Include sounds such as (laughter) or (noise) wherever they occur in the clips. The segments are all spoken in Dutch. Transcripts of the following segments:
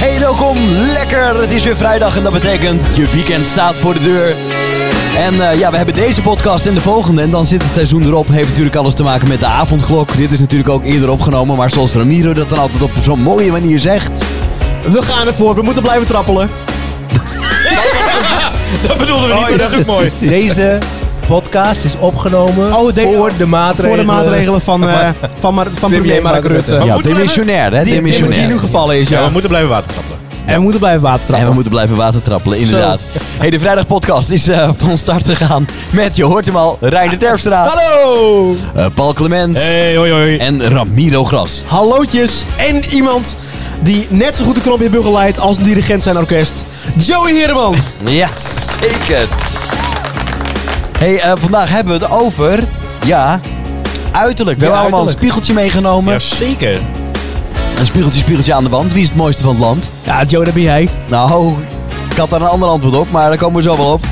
Hey, welkom. Lekker. Het is weer vrijdag en dat betekent je weekend staat voor de deur. En eh, ja, we hebben deze podcast en de volgende. En dan zit het seizoen erop. Heeft natuurlijk alles te maken met de avondklok. Dit is natuurlijk ook eerder opgenomen. Maar zoals Ramiro dat dan altijd op zo'n mooie manier zegt. We gaan ervoor. We moeten blijven trappelen. (laughs) Dat bedoelden we niet, maar dat is ook mooi. Oh, (laughs) Deze podcast is opgenomen Oh, de- voor de maatregelen. Voor de maatregelen (laughs) van, eh, van, Mar- van premier Mark Rutte. eh, Maar ja, moeten we demissionair hè. Die, die, die Demissionair. nu gevallen is, Ja, ja. we moeten blijven watertrappelen. En we moeten blijven water En we trappen. moeten blijven watertrappelen, inderdaad. Hey, de vrijdagpodcast is eh, van start gegaan met, je hoort hem al, Reiner Terpstra, Hallo! eh, Paul Clement Hey, hoi, hoi. en Ramiro Gras. Hallootjes en iemand die net zo goed de knop in Bugel leidt als een dirigent zijn orkest. Joey (laughs) Heerman. Ja, zeker. Hey, eh, vandaag hebben we het over, ja, uiterlijk. We hebben allemaal een uiterlijk. spiegeltje meegenomen. Jazeker. Een spiegeltje, spiegeltje aan de wand. Wie is het mooiste van het land? Ja, Joey, dat ben jij. Nou, ik had daar een ander antwoord op, maar daar komen we zo wel op.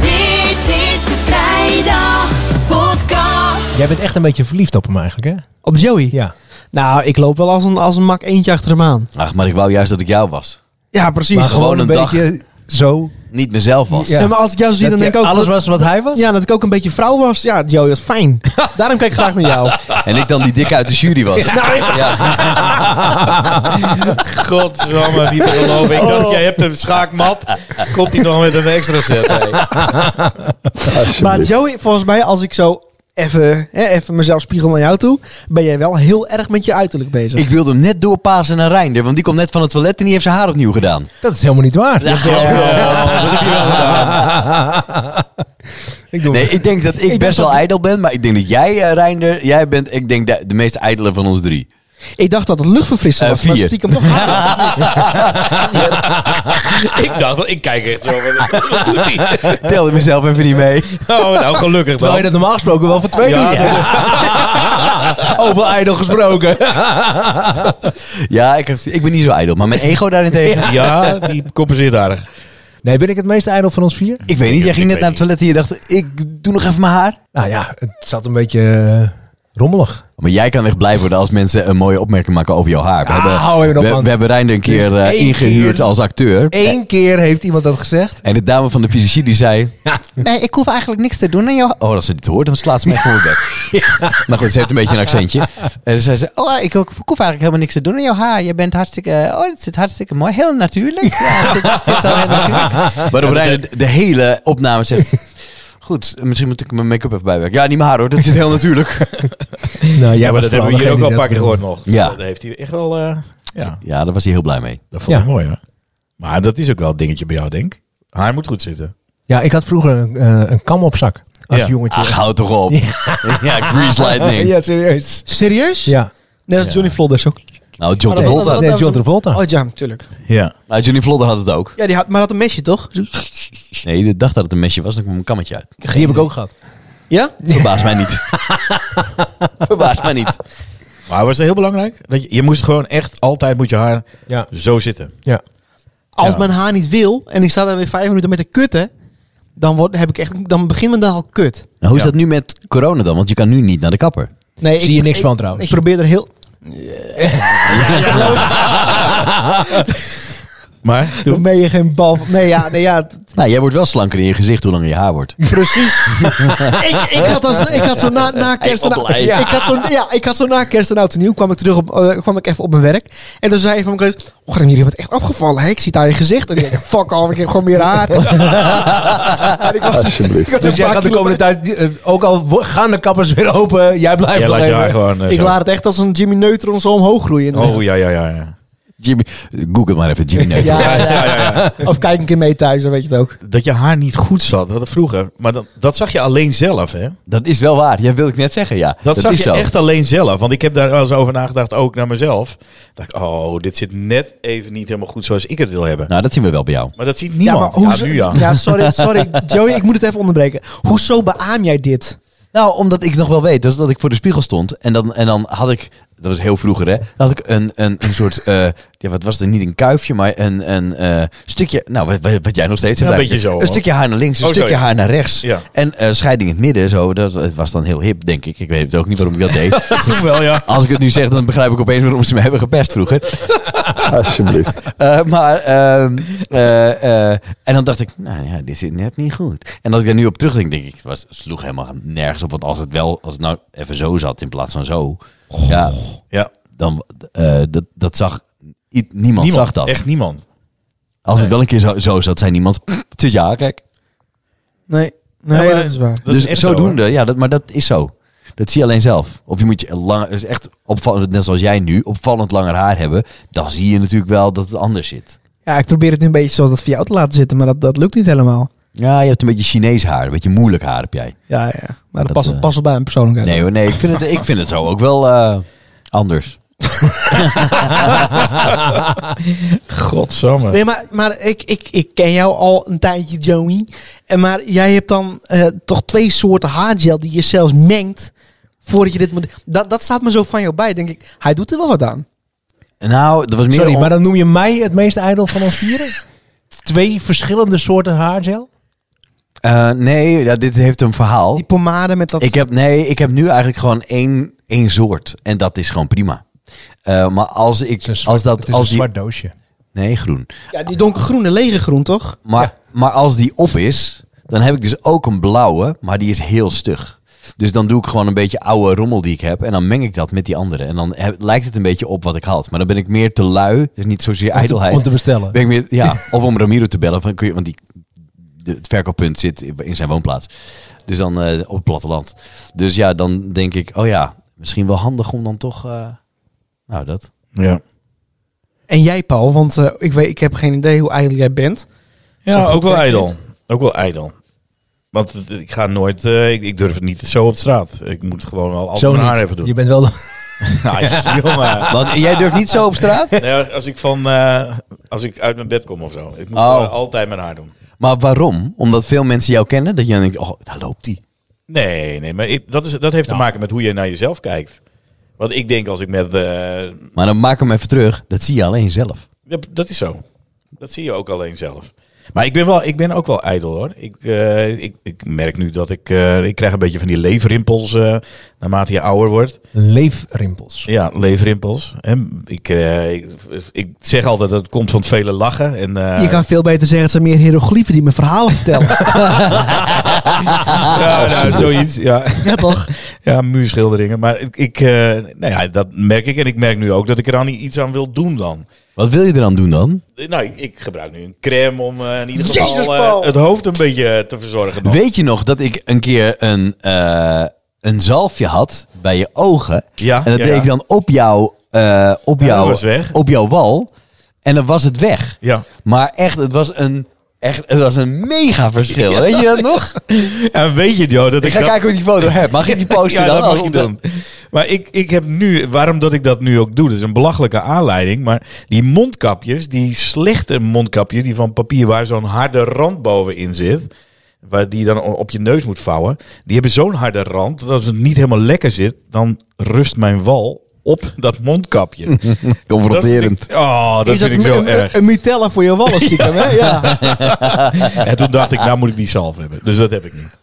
Dit is de vrijdag podcast. Jij bent echt een beetje verliefd op hem eigenlijk, hè? Op Joey? Ja. Nou, ik loop wel als een, als een mak eentje achter hem aan. Ach, maar ik wou juist dat ik jou was. Ja, precies. Maar Maar, gewoon gewoon een een dag. beetje zo. Niet mezelf was. Ja. maar als ik jou zo zie, dan dat denk je ik ook... alles was wat hij was? Ja, dat ik ook een beetje vrouw was. Ja, Joey, dat is (laughs) fijn. Daarom kijk ik graag naar jou. En ik dan die dikke uit de jury was. Ja. Godsamme, niet te geloven. Ik dacht, jij hebt een schaakmat. Komt hij nog met een extra set? Hey. Maar Joey, volgens mij, als ik zo even, hè, even mezelf spiegel naar jou toe, ben jij wel heel erg met je uiterlijk bezig. Ik wilde hem net doorpasen naar Reinder, want die komt net van het toilet en die heeft zijn haar opnieuw gedaan. Dat is helemaal niet waar. eh, Ja, Ik doe Nee, ik denk dat ik, dacht best wel dat- ijdel ben, maar ik denk dat jij, eh, Reinder, jij bent, ik denk, de, de meest ijdele van ons drie. Ik dacht dat het luchtverfrisser Eh, was, maar vier. stiekem toch haar. (laughs) Ik dacht, ik kijk echt zo. Wat wat doet hij? Telde mezelf even niet mee. Oh, nou, (laughs) gelukkig Terwijl je wel. dat normaal gesproken wel voor twee Ja. doet. Over ijdel gesproken. Ja, ik, heb- ik ben niet zo ijdel, maar mijn ego daarentegen. Ja, die compenseert aardig. Nee, ben ik het meest ijdel van ons vier? Ik weet niet, jij Ik ging net weet naar het toilet en je dacht, ik doe nog even mijn haar. Nou ja, het zat een beetje eh, rommelig. Maar jij kan echt blij worden als mensen een mooie opmerking maken over jouw haar. We, Ah, hou even hebben, op, we, man. we hebben Reinder een keer Dus eh, één ingehuurd keer- als acteur. Eén keer heeft iemand dat gezegd. En de dame van de fysici die zei... Nee, ik hoef eigenlijk niks te doen aan jou. Oh, als ze dit hoort, dan slaat ze mij voor mijn bek. (laughs) Maar goed, ze heeft een beetje een accentje. En zei ze... Oh, ik, ook- ik hoef eigenlijk helemaal niks te doen aan jouw haar. Je bent hartstikke... eh, Oh, het zit hartstikke mooi. Heel natuurlijk. Ja, het zit, het zit al heel (laughs) natuurlijk. Waarop Reiner de, de hele opname (laughs) zegt... Goed, misschien moet ik mijn make-up even bijwerken. Ja, niet mijn haar hoor. Dat zit heel natuurlijk. Nou, Ja, maar dat hebben we hier ook al een paar keer gehoord nog. Ja. Dat heeft hij echt wel... eh, ja, (laughs) Ja, daar was hij heel blij mee. dat vond Ja. ik mooi hoor. Maar dat is ook wel een dingetje bij jou, denk ik. Haar moet goed zitten. Ja, ik had vroeger een, eh, een kam op zak. Als Ja. jongetje. Ach, hou Ah, toch op. (laughs) Ja, Grease Lightning. (laughs) Ja, serieus. Serieus? Ja. Net als Johnny Vlodders ook. Nou, John Maar dat- dat- Travolta. dat- Nee, was John een- Travolta. Oh ja, natuurlijk. Ja. Nou, Johnny Vlodder had het ook. Ja, die had, maar had een mesje toch? Zo- Nee, de dag dat het een mesje was, dan kwam een kammetje uit. Die heb ik ook gehad. Ja? Verbaas mij niet. Verbaas mij niet. Maar was dat heel belangrijk? Dat je, je moest gewoon echt altijd moet je haar Ja. zo zitten. Ja. Als Ja. mijn haar niet wil en ik sta daar weer vijf minuten met de kutten, dan, word, heb ik echt, dan begint mijn dag al kut. Nou, hoe is Ja. dat nu met corona dan? Want je kan nu niet naar de kapper. Nee, Zie je niks van trouwens. Ik probeer er heel... Maar toen, Ben je geen bal van... Nee, ja, nee, ja. het- Nou, jij wordt wel slanker in je gezicht hoe langer je haar wordt. Precies. (laughs) ik, ik, had als, ik had zo na, na kerst en Hey, oud- oplei. ja. ik had zo, ja, ik had zo na kerst en oud en nieuw kwam ik terug op, eh, kwam ik even op mijn werk. En toen zei een van mijn collega's, oh, Graham, jullie hebben het echt afgevallen. Hè? Ik zie het aan je gezicht. En ik denk, fuck off, ik heb gewoon meer (laughs) haar. En ik was- ik was een Dus jij paar gaat de kilo- komende tijd, eh, ook al wo- gaan de kappers weer open, jij blijft jij nog laat je even. haar gewoon eh, Ik zo. laat het echt als een Jimmy Neutron zo omhoog groeien. Oh ja, ja, ja. ja. Jimmy, Google maar even Jimmy Neutron. Ja, ja, Ja, ja, ja. Of kijk een keer mee thuis, dan weet je het ook. (laughs) Dat je haar niet goed zat, dat vroeger. Maar dat, dat zag je alleen zelf, hè? Dat is wel waar. Ja, wil ik net zeggen, ja. Dat, Dat, zag is je zo. echt alleen zelf. Want ik heb daar wel eens over nagedacht, ook naar mezelf. Dacht ik, oh, dit zit net even niet helemaal goed zoals ik het wil hebben. Nou, dat zien we wel bij jou. Maar dat ziet niemand. Ja, hoezo- nu ja. ja, (laughs) sorry, sorry. Joey, ik moet het even onderbreken. Hoezo beaam jij dit? Nou, omdat ik nog wel weet dat, is dat ik voor de spiegel stond. En dan, en dan had ik, dat is heel vroeger hè, dan had ik een, een, een soort eh, ja, wat was het? Niet een kuifje, maar een, een eh, stukje. Nou, wat- wat, wat jij nog steeds Ja, hebt. een eigenlijk. beetje zo, Een hoor. stukje haar naar links, een Oh, zo, stukje ja. haar naar rechts. Ja. En eh, scheiding in het midden, zo. Dat, het was dan heel hip, denk ik. Ik weet het ook niet waarom ik dat deed. (laughs) Toen wel, ja. Als ik het nu zeg, dan begrijp ik opeens waarom ze me hebben gepest vroeger. Alsjeblieft. Eh, maar, ehm, eh, eh, en dan dacht ik, nou ja, dit zit net niet goed. En als ik daar nu op terugdenk, denk ik, het was, sloeg helemaal nergens op. Want als het wel, als het nou even zo zat in plaats van zo, ja, ja. dan, eh, dat, dat zag, i- niemand, Niemand, zag dat. Echt niemand. Als het wel een keer zo, zo zat, zei niemand, (clears throat) het is ja, kijk. Nee, nee Ja, maar dat is waar. dat is dus echt zodoende, ja, dat, maar dat is zo. Dat zie je alleen zelf. Of je moet je lang, is echt opvallend, net zoals jij nu, opvallend langer haar hebben. Dan zie je natuurlijk wel dat het anders zit. Ja, ik probeer het nu een beetje zoals dat voor jou te laten zitten, maar dat, dat lukt niet helemaal. Ja, je hebt een beetje Chinees haar, een beetje moeilijk haar heb jij. Ja, ja. Maar dat, Dat, past, eh, past wel bij mijn persoonlijkheid. Nee hoor, nee, ik vind het, ik vind het zo ook wel eh, anders. Godsamme. Nee, maar, maar ik, ik, ik ken jou al een tijdje, Joey. En maar jij hebt dan eh, toch twee soorten haargel die je zelfs mengt voordat je dit moet... Dat, dat staat me zo van jou bij, denk ik. Hij doet er wel wat aan. Nou, dat was meer Sorry, om- maar dan noem je mij het meest ijdel van ons vieren? Twee verschillende soorten haargel? Eh, nee, ja, dit heeft een verhaal. Die pomade met dat... Ik heb, nee, ik heb nu eigenlijk gewoon één, één soort. En dat is gewoon prima. Eh, maar als ik... Het is een zwart- als dat, het is als een die, zwart doosje. nee, groen. ja, die donkergroene legergroen, toch? Maar, maar als die op is, dan heb ik dus ook een blauwe, maar die is heel stug. Dus dan doe ik gewoon een beetje oude rommel die ik heb. En dan meng ik dat met die andere. En dan heb- lijkt het een beetje op wat ik had. Maar dan ben ik meer te lui. Dus niet zozeer te- ijdelheid. om te bestellen. Ben ik meer, (laughs) ja, of om Ramiro te bellen. Van, kun je, want die, de, het verkooppunt zit in zijn woonplaats. Dus dan eh, op het platteland. Dus ja, dan denk ik, oh ja, misschien wel handig om dan toch... eh, nou, dat. Ja. En jij, Paul, want eh, ik, weet, ik heb geen idee hoe ijdel jij bent. Zo Ja, goed ook wel werkt ijdel. dit. Ook wel ijdel. Want het- ik ga nooit, eh, ik, ik durf het niet zo op straat. Ik moet het gewoon al Zo altijd mijn haar even niet. (laughs) doen. Je bent wel... de- Nou, jongen. (laughs) Want jij durft niet zo op straat? Nee, als ik van, eh, als ik uit mijn bed kom of zo. Ik moet Oh. gewoon altijd mijn haar doen. Maar waarom? Omdat veel mensen jou kennen, dat je dan denkt, oh, daar loopt die. Nee, nee, maar ik- dat, is, dat heeft te maken met hoe je naar jezelf kijkt. Want ik denk als ik met, eh, Maar dan maak hem even terug. Dat zie je alleen zelf. Ja, dat is zo. Dat zie je ook alleen zelf. Maar ik ben, wel, ik ben ook wel ijdel hoor. Ik, eh, ik, ik merk nu dat ik... eh, ik krijg een beetje van die leefrimpels eh, naarmate je ouder wordt. Leefrimpels. Ja, leefrimpels. En ik, eh, ik, ik zeg altijd dat het komt van het vele lachen. En, eh, je kan veel beter zeggen, het zijn meer hieroglyphen die me verhalen (laughs) vertellen. ja, nou, zoiets. Ja. ja, toch? ja, muurschilderingen. Maar ik, ik, eh, nou ja, dat merk ik. En ik merk nu ook dat ik er aan iets aan wil doen dan. Wat wil je eraan doen dan? Nou, ik, ik gebruik nu een crème om eh, in ieder geval Jezus, eh, Paul. het hoofd een beetje te verzorgen. dan. Weet je nog dat ik een keer een, eh, een zalfje had bij je ogen? Ja, En dat ja, deed ja. ik dan op jou, eh, op Ja, dat jou, was weg. op jouw wal. En dan was het weg. Ja. Maar echt, het was een, echt, het was een mega verschil. Weet je dat (laughs) nog? En weet je, joh, dat Ik ik, ga dat... kijken hoe ik die foto heb. Mag ik die posten (laughs) Ja, dan? dat mag Oh, je dat- doen. Maar ik, ik heb nu, waarom dat ik dat nu ook doe, dat is een belachelijke aanleiding. Maar die mondkapjes, die slechte mondkapje, die van papier waar zo'n harde rand bovenin zit. Waar die je dan op je neus moet vouwen. Die hebben zo'n harde rand dat als het niet helemaal lekker zit, dan rust mijn wal op dat (laughs) mondkapje. Dat vind Confronterend. ik- oh, dat (laughs) is vind ik dat zo een, erg. een Mitella voor (laughs) je wallen stiekem, hè? Ja. En toen dacht ik, nou moet ik die zalf hebben. Dus dat heb ik niet.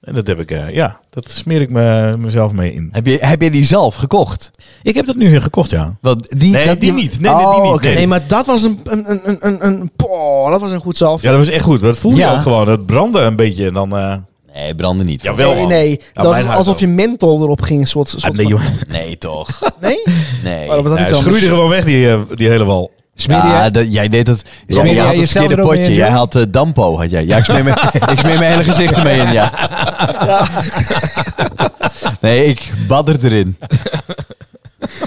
En dat heb ik, eh, ja, dat smeer ik me, mezelf mee in. Heb je, heb je die zelf gekocht? Ik heb dat nu weer gekocht, ja. Want die, Nee, dat- die niet. Nee, nee, die Oh, niet. oké. Nee. Nee, maar dat was een... een, een, een, een, een- poh, dat was een goed zalf. Ja, dat was echt goed. Dat voelde Ja. je ook gewoon. Het brandde een beetje en dan... eh Nee, branden niet. Jawel. nee, Eh, nee. Ja, dat was mijn huis alsof ook. je menthol erop ging. een Soort, soort ah, nee, van- joh. (laughs) Nee, toch? (laughs) nee? Nee. Oh, dat was dat Hij iets anders. schroeide gewoon weg, die, eh, die hele wal. Smeer ja, je- dat, jij deed dat. Smeer jij jij had het jezelf verkeerde er ook mee potje. in, Jij John? had eh, dampo. Had jij. Ja, ik smeer, mijn, (laughs) ik smeer mijn hele gezicht ermee in. Ja. (laughs) Nee, ik badder erin.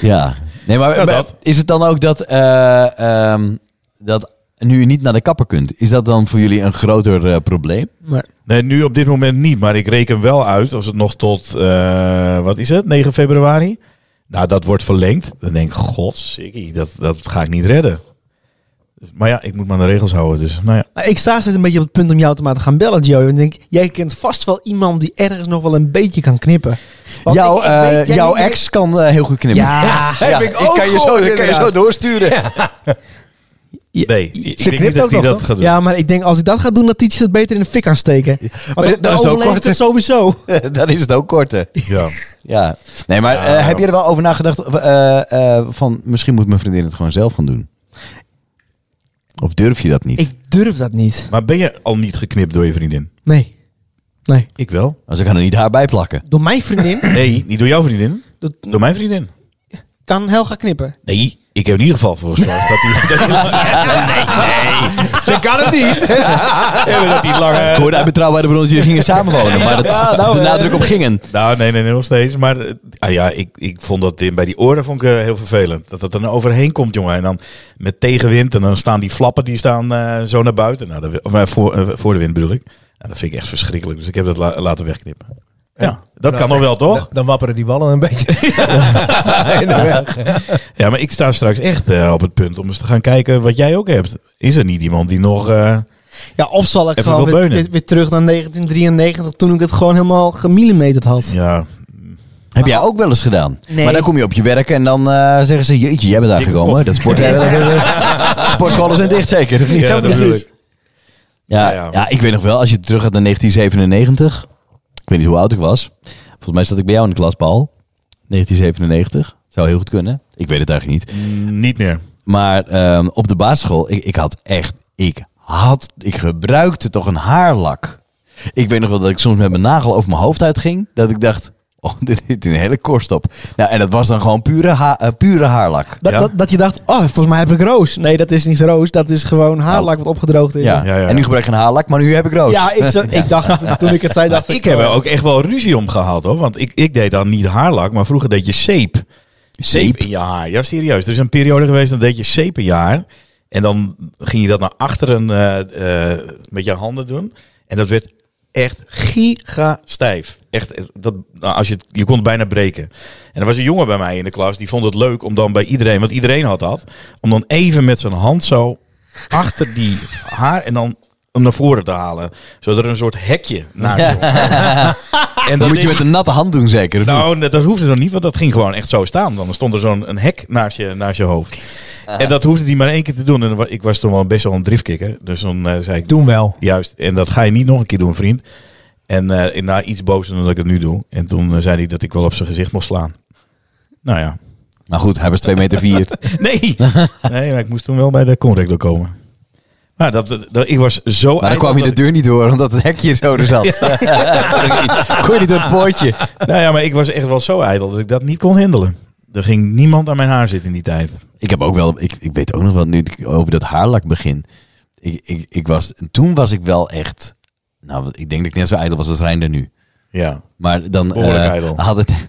Ja. Nee, maar Ja, maar dat. is het dan ook dat, eh, ehm, dat nu je niet naar de kapper kunt? Is dat dan voor jullie een groter eh, probleem? Nee. Nee, nu op dit moment niet. Maar ik reken wel uit als het nog tot... eh, wat is het? 9 februari? Nou, dat wordt verlengd. Dan denk ik, god, dat, dat ga ik niet redden. Dus, maar ja, ik moet me aan de regels houden. Dus (laughs) nou ja. Nou, ik sta steeds een beetje op het punt om jou te laten gaan bellen, Joe. En ik denk, jij kent vast wel iemand die ergens nog wel een beetje kan knippen. Want jouw ik- ik weet, eh, jij- jouw jij- ex kan eh, heel goed knippen. Ja, (laughs) Ja, kan je zo, ik kan je zo doorsturen. Nee, ik denk niet knipt dat ook hij nog, dat toch? gaat doen. Ja, maar ik denk als ik dat ga doen, dat Tietje het beter in de fik kan steken. Maar Want dit- dan dat is het ook overleeft het korter. sowieso. (laughs) Dan is het ook korter. Ja. Ja. Nee, maar eh, heb je er wel over nagedacht eh, eh, van misschien moet mijn vriendin het gewoon zelf gaan doen? Of durf je dat niet? Ik durf dat niet. Maar ben je al niet geknipt door je vriendin? Nee. Nee. Ik wel. Als ik kan er niet haar bij plakken. Door mijn (laughs) vriendin Nee, niet door jouw vriendin. dat Door mijn vriendin. kan Helga knippen. Nee, ik heb in ieder geval voor gezorgd dat hij... Dat (laughs) Ze kan het niet. hij, dat hij langer... Ik hoorde uit betrouwbare bron dat jullie gingen samenwonen, maar dat, de nadruk op gingen. Nou, nee, nee, nee, nog steeds. Maar eh, ah ja, ik, ik vond dat in- bij die oren vond ik, eh, heel vervelend. Dat dat er nou overheen komt, jongen. En dan met tegenwind. En dan staan die flappen die staan eh, zo naar buiten. Nou, dat, of, eh, voor, eh, voor de wind bedoel ik. Nou, dat vind ik echt verschrikkelijk. Dus ik heb dat la- laten wegknippen. Ja, dat nou, kan nog wel, toch? Dan wapperen die wallen een beetje. (laughs) in de weg. Ja, maar ik sta straks echt eh, op het punt om eens te gaan kijken wat jij ook hebt. Is er niet iemand die nog... eh, Ja, of zal ik Even gewoon veel weer, beunen. weer- weer terug naar 1993 toen ik het gewoon helemaal gemillimeterd had. ja, Heb jij ook wel eens gedaan? Nee. Maar dan kom je op je werk en dan eh, zeggen ze, jeetje, jij bent daar Dikke gekomen. kop. Dat sport, (laughs) sportscholen zijn dicht zeker, of niet? ja, dat bedoel ik. Ja, Ja, ja. ja, ik weet nog wel, als je terug gaat naar 1997. Ik weet niet hoe oud ik was. Volgens mij zat ik bij jou in de klas, Paul. 1997. Zou heel goed kunnen. Ik weet het eigenlijk niet. Mm, niet meer. Maar ehm, op de basisschool, ik, ik had echt... Ik had... Ik gebruikte toch een haarlak. Ik weet nog wel dat ik soms met mijn nagel over mijn hoofd uitging. Dat ik dacht... Oh, (laughs) dit is een hele korst op. Nou, en dat was dan gewoon pure, ha- eh, pure haarlak. Dat, Ja. dat, dat je dacht, oh, volgens mij heb ik roos. Nee, dat is niet roos. Dat is gewoon haarlak wat opgedroogd is. Ja. Oh, Ja, ja. En nu gebruik ik een haarlak, maar nu heb ik roos. Ja, ik, zo- ik dacht, toen ik het zei, dacht ik... eh, Ik heb er ook echt wel ruzie om gehad hoor. Want ik, ik deed dan niet haarlak, maar vroeger deed je zeep. Zeep in je haar. Ja, serieus. Er is een periode geweest, dan deed je zeep in je haar. En dan ging je dat naar achteren eh, eh, met je handen doen. En dat werd echt giga stijf. Echt, eh, dat, nou, als je, het- je kon het bijna breken. En er was een jongen bij mij in de klas, die vond het leuk om dan bij iedereen, want iedereen had dat, om dan even met zijn hand zo achter die haar en dan om naar voren te halen. Zodat er een soort hekje naar Ja. komt. (laughs) En Dat moet deed je met een natte hand doen zeker, of niet? nou, dat, dat hoefde dan niet, want dat ging gewoon echt zo staan. Dan stond er zo'n een hek naast je, naast je hoofd. En dat hoefde hij maar één keer te doen. En wa- ik was toen wel best wel een driftkikker. Dus dan eh, zei ik, Toen wel. juist, en dat ga je niet nog een keer doen, vriend. En eh en nou, iets bozer dan dat ik het nu doe. En toen eh, zei hij dat ik wel op zijn gezicht mocht slaan. Nou ja. Maar goed, hij was 2 meter 4. Nee! (laughs) nee, maar ik moest toen wel bij de conrector komen. Maar dat, dat, ik was zo... Maar dan kwam je de deur niet door, omdat het hekje zo er (laughs) zat. (laughs) Kon je niet door het poortje. Nou ja, maar ik was echt wel zo ijdel dat ik dat niet kon handelen. Er ging niemand aan mijn haar zitten in die tijd. Ik heb ook wel, ik, ik weet ook nog wel, nu ik over dat haarlak begin. Ik, ik, ik was, toen was ik wel echt, nou, ik denk dat ik net zo ijdel was als Reinder nu. Ja. Maar dan Behoorlijk eh, ijdel. had het. (laughs)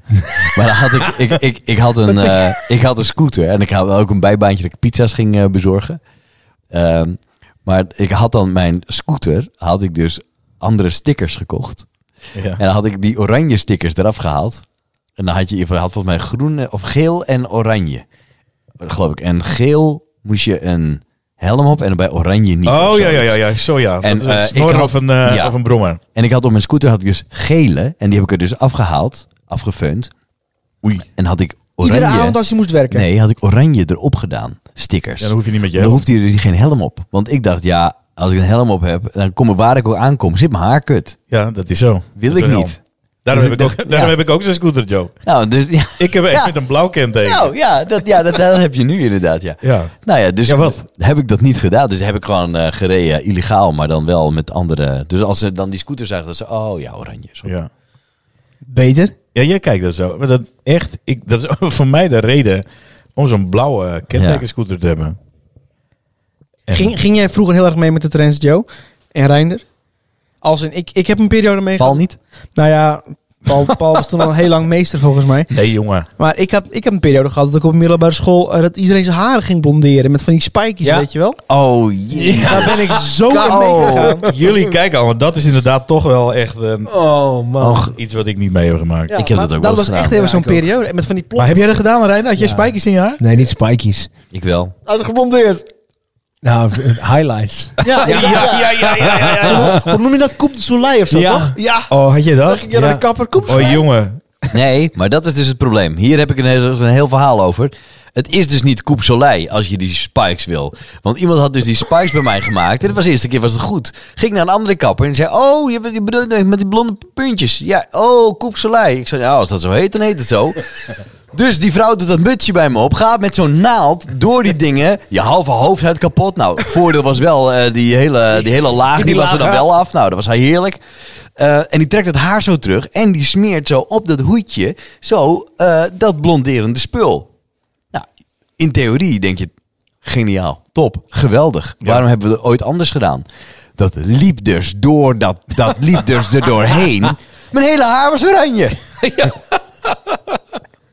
Maar dan had ik, ik, ik, ik, had een, eh, ik had een scooter en ik had ook een bijbaantje dat ik pizza's ging eh, bezorgen. Ehm, maar ik had dan mijn scooter, had ik dus andere stickers gekocht. ja. En dan had ik die oranje stickers eraf gehaald. En dan had je, je had volgens mij groen eh, of geel en oranje. Geloof ik. En geel moest je een helm op en bij oranje niet. of Oh ja, zoiets. ja, ja, ja, zo ja. En, En, een eh, ik snor had- of, een, eh, ja. of een brommer. En ik had op mijn scooter had ik dus gele. En die heb ik er dus afgehaald. Afgefeund. Oei. En had ik oranje. Iedere avond als je moest werken. Nee, had ik oranje erop gedaan. Stickers. Ja, dan hoef je niet met je Dan helm. hoeft hij er dus geen helm op. Want ik dacht, ja, als ik een helm op heb, dan kom ik waar ik ook aankom. Zit mijn haar kut. Ja, dat is zo. Wil Dat is ik een helm. niet. Daarom, Dus heb ik, ik ook, dacht, daarom ja. heb ik ook zo'n scooter, Joe. Nou, dus ja. Ik heb echt Ja. met een blauw kenteken. Nou ja, dat, ja dat, dat heb je nu inderdaad, ja. Ja. Nou ja, dus Ja, wat? heb ik dat niet gedaan. Dus heb ik gewoon eh, gereden, illegaal, maar dan wel met andere. Dus als ze dan die scooter zagen, dat ze, oh ja, oranje. Zo. ja. Beter. Ja, jij kijkt dat zo. Maar dat echt, ik, dat is (laughs) voor mij de reden om zo'n blauwe kentekenscooter te hebben. En- Ging, ging jij vroeger heel erg mee met de trends, Joe? En Reinder? Als in, ik, ik heb een periode mee Paul niet? Nou ja, Paul, Paul was toen al heel lang meester volgens mij. Nee, jongen. Maar ik heb, ik heb een periode gehad dat ik op middelbare school... eh, dat iedereen zijn haren ging blonderen met van die spijkjes, Ja. weet je wel? Oh jee. Daar ben ik zo in Oh. meegegaan. Jullie (laughs) kijken al, want dat is inderdaad toch wel echt een- Oh man. iets wat ik niet mee heb gemaakt. Ja, Ik heb maar dat ook wel Dat eens was echt gedaan. even Ja, zo'n ik ook. periode. En met van die plop Maar heb jij dat gedaan, Rijn? Had jij spijkers in je haar? Nee, niet spikies. Ik wel. uitgeblondeerd. Nou, highlights. Ja, ja, ja. ja, ja, ja, ja. Hoe noem je dat? Coupe de Soleil of zo, Ja. toch? Ja. Oh, had je Dan dat? ging je naar de kapper. Coupe de Oh, Soleil. jongen. Nee, maar dat is dus het probleem. Hier heb ik een heel, een heel verhaal over. Het is dus niet Coupe Soleil als je die spikes wil. Want iemand had dus die spikes bij mij gemaakt. En dat was de eerste keer was het goed. Ging naar een andere kapper en zei... Oh, je hebt- je bedoelt met die blonde puntjes. Ja, oh, Coupe Soleil. Ik zei, nou, als dat zo heet, dan heet het zo. Dus die vrouw doet dat mutsje bij me op. Gaat met zo'n naald door die dingen. Je halve hoofd uit kapot. Nou, het voordeel was wel eh, die, hele, die hele laag. Die, was er dan wel af. Nou, dat was hij heerlijk. Eh, en die trekt het haar zo terug. En die smeert zo op dat hoedje. Zo eh, dat blonderende spul. Nou, in theorie denk je. Geniaal. Top. Geweldig. Waarom hebben we het ooit anders gedaan? Dat liep dus door. Dat, dat liep dus er (laughs) doorheen. Mijn hele haar was oranje. (laughs)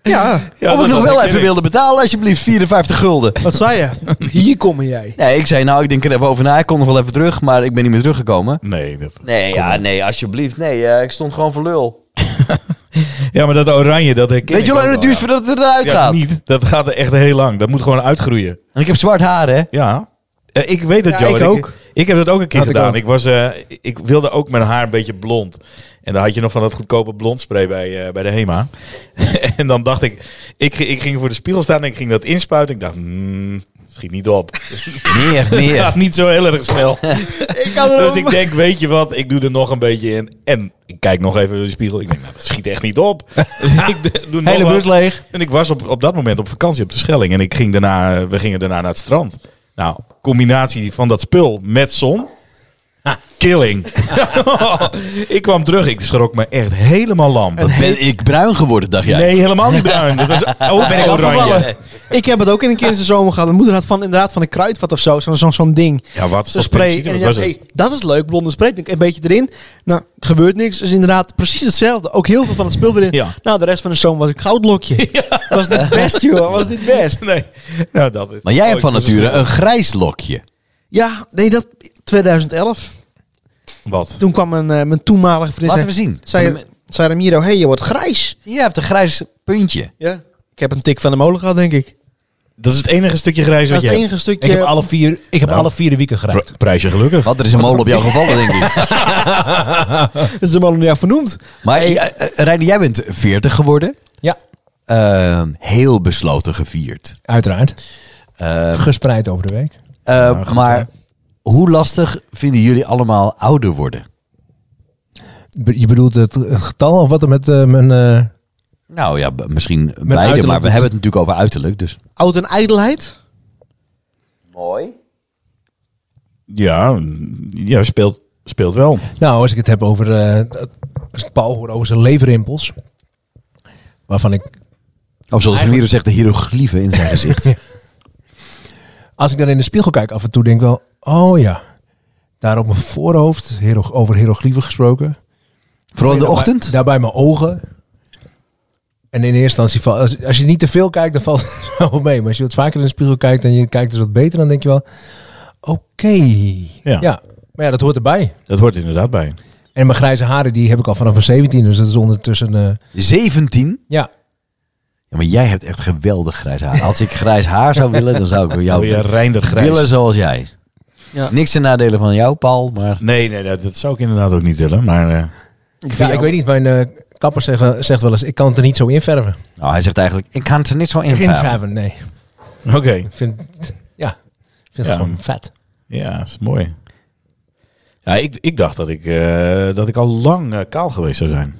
Ja. Ja, of ik nog dat was wel een even kidding. wilde betalen, alsjeblieft. 54 gulden. Wat zei je? Hier kom jij. Nee, ik zei nou, ik denk er even over na. Ik kon nog wel even terug, maar ik ben niet meer teruggekomen. Nee, dat... Nee, ja, nee, alsjeblieft. Nee, eh, ik stond gewoon voor lul. Ja, maar dat oranje, dat herken Weet ik je hoe ook lang het duurt wel, ja. voordat het eruit Ja, gaat? niet. Dat gaat echt heel lang. Dat moet gewoon uitgroeien. En ik heb zwart haar, hè? (laughs) Ja. Eh, Ik weet het, Ja, Jo. ik ook. Ik heb dat ook een keer Had ik gedaan. ook. Ik, was, eh, ik wilde ook mijn haar een beetje blond. En dan had je nog van dat goedkope blond spray bij, eh, bij de HEMA. (laughs) en dan dacht ik, ik, gi- ik ging voor de spiegel staan en ik ging dat inspuiten. Ik dacht, mm, schiet niet (laughs) op. Meer, Het (laughs) meer. gaat niet zo heel erg snel. dus ik denk, weet je wat, ik doe er nog een beetje in. En ik kijk nog even door de spiegel. Ik denk, nou, dat schiet echt niet (laughs) op. Dus ik doe nog Hele wat. bus leeg. En ik was op, op dat moment op vakantie op de Schelling. En ik ging daarna, we gingen daarna naar het strand. Nou, combinatie van dat spul met zon. Killing. (laughs) ik kwam terug, ik schrok me echt helemaal lam. Dat- Ben ik bruin geworden, dacht jij? nee, helemaal niet bruin. Dat was (laughs) ook Ben ik oranje. afgevallen? Ik heb het ook in een keer in de zomer gehad. Mijn moeder had van, inderdaad van een kruidvat of zo. Zo'n zo'n zo'n ding. Ja, wat? Zo'n spray. En Wat ik was dacht, het? hey, dat is leuk, blonde spray. Ik Denk een beetje erin. Nou, het gebeurt niks. Dus inderdaad precies hetzelfde. Ook heel veel van het spul erin. Ja. Nou, de rest van de zomer was ik goudlokje. Was niet best, joh. Was niet best. Nee. Nou, dat is- Maar jij hebt Oh, van ik was nature een- een grijs lokje. Ja, nee, dat 2011. Wat? Toen kwam mijn, eh, mijn toenmalige vriendin. Laten we zei- zien. Zei, zei Ramiro, hey, je wordt grijs. Je hebt een grijs puntje. Ja. Ik heb een tik van de molen gehad, denk ik. Dat is het enige stukje grijs Dat wat is je het hebt. enige stukje. Ik heb alle vier, ik heb Nou. alle vier de weken geraakt. Pri- Prijs je gelukkig. Wat, er is een molen (laughs) op jou gevallen, denk ik. Dat is de molen ja vernoemd. Maar eh, eh, Reiner, jij bent 40 geworden. Ja, Eh, heel besloten gevierd. uiteraard. Ehm. Eh, Gespreid over de week. Eh, maar hoe lastig vinden jullie allemaal ouder worden? Be- Je bedoelt het eh, getal of wat er met eh, mijn... eh, Nou ja, b- misschien beide, uiterlijk maar we dus. moet- hebben het natuurlijk over uiterlijk. Dus. Oud en ijdelheid. Mooi. Ja, mm, ja speelt, speelt wel. Nou, als ik het heb over... eh, dat- als ik Paul hoor over zijn leverrimpels. Waarvan ik... Of zoals Ramiro zegt, de hieroglyphen in zijn (laughs) gezicht. Als ik dan in de spiegel kijk, af en toe denk ik wel... Oh ja, daar op mijn voorhoofd, hiero- over hieroglyphen gesproken. Vooral in de Nee, daarbij- ochtend? Daarbij mijn ogen. En in eerste instantie, val- als, als je niet te veel kijkt, dan valt het (laughs) wel mee. Maar als je wat vaker in de spiegel kijkt en je kijkt dus wat beter, dan denk je wel, oké. Ja. maar ja, dat hoort erbij. Dat hoort inderdaad bij. En mijn grijze haren, die heb ik al vanaf mijn 17, dus dat is ondertussen, eh, 17? ja. Ja, maar jij hebt echt geweldig grijs haar. Als ik grijs haar zou willen, dan zou ik door Wil jou je Reinder grijs? willen zoals jij. Ja. Niks ten nadele van jou, Paul, maar... Nee, nee, nee, dat zou ik inderdaad ook niet willen. Maar eh, Ik, ik weet niet, mijn eh, kapper zeggen, zegt wel eens, ik kan het er niet zo inverven. Nou, hij zegt eigenlijk, ik kan het er niet zo in verven. Inverven, nee. oké. Ik vind, ja, ik vind Ja. het gewoon vet. Ja, is mooi. Ja, ik, ik dacht dat ik, eh, dat ik al lang eh, kaal geweest zou zijn.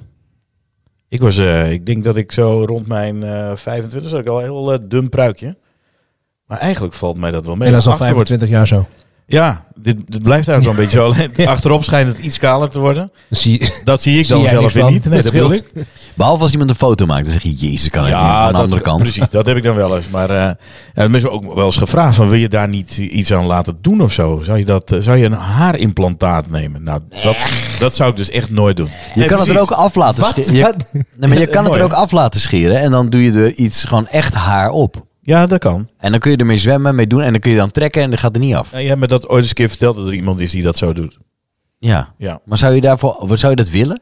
Ik, was, eh, ik denk dat ik zo rond mijn eh 25 had ik al een heel eh, dun pruikje. Maar eigenlijk valt mij dat wel mee. en dat is al Achter wordt- 25 jaar zo. Ja, dit, dit blijft daar zo'n (laughs) beetje zo. Alleen Achterop schijnt het iets kaler te worden. Dus zie, Dat zie ik Zie dan jij zelf niks weer van. niet. Nee, Dat dat bedoel scheelt. ik. Behalve als iemand een foto maakt, dan zeg je, jezus, kan het niet van de dat- andere kant. Precies, dat heb ik dan wel eens. Maar eh ja, dat is me ook wel eens gevraagd: van, wil je daar niet iets aan laten doen of zo? Zou je, dat, eh, zou je een haarimplantaat nemen? Nou, dat, dat zou ik dus echt nooit doen. Je kan het er ook af laten Wat? scheren. Je, Wat? nee, maar je kan het Mooi, er hè? ook af laten scheren en dan doe je er iets gewoon echt haar op. Ja, dat kan. En dan kun je ermee zwemmen, mee doen en dan kun je dan trekken en dan gaat er niet af. Ja, je hebt me dat ooit eens een keer verteld dat er iemand is die dat zo doet. Ja. Ja. Maar zou je daarvoor, zou je dat willen?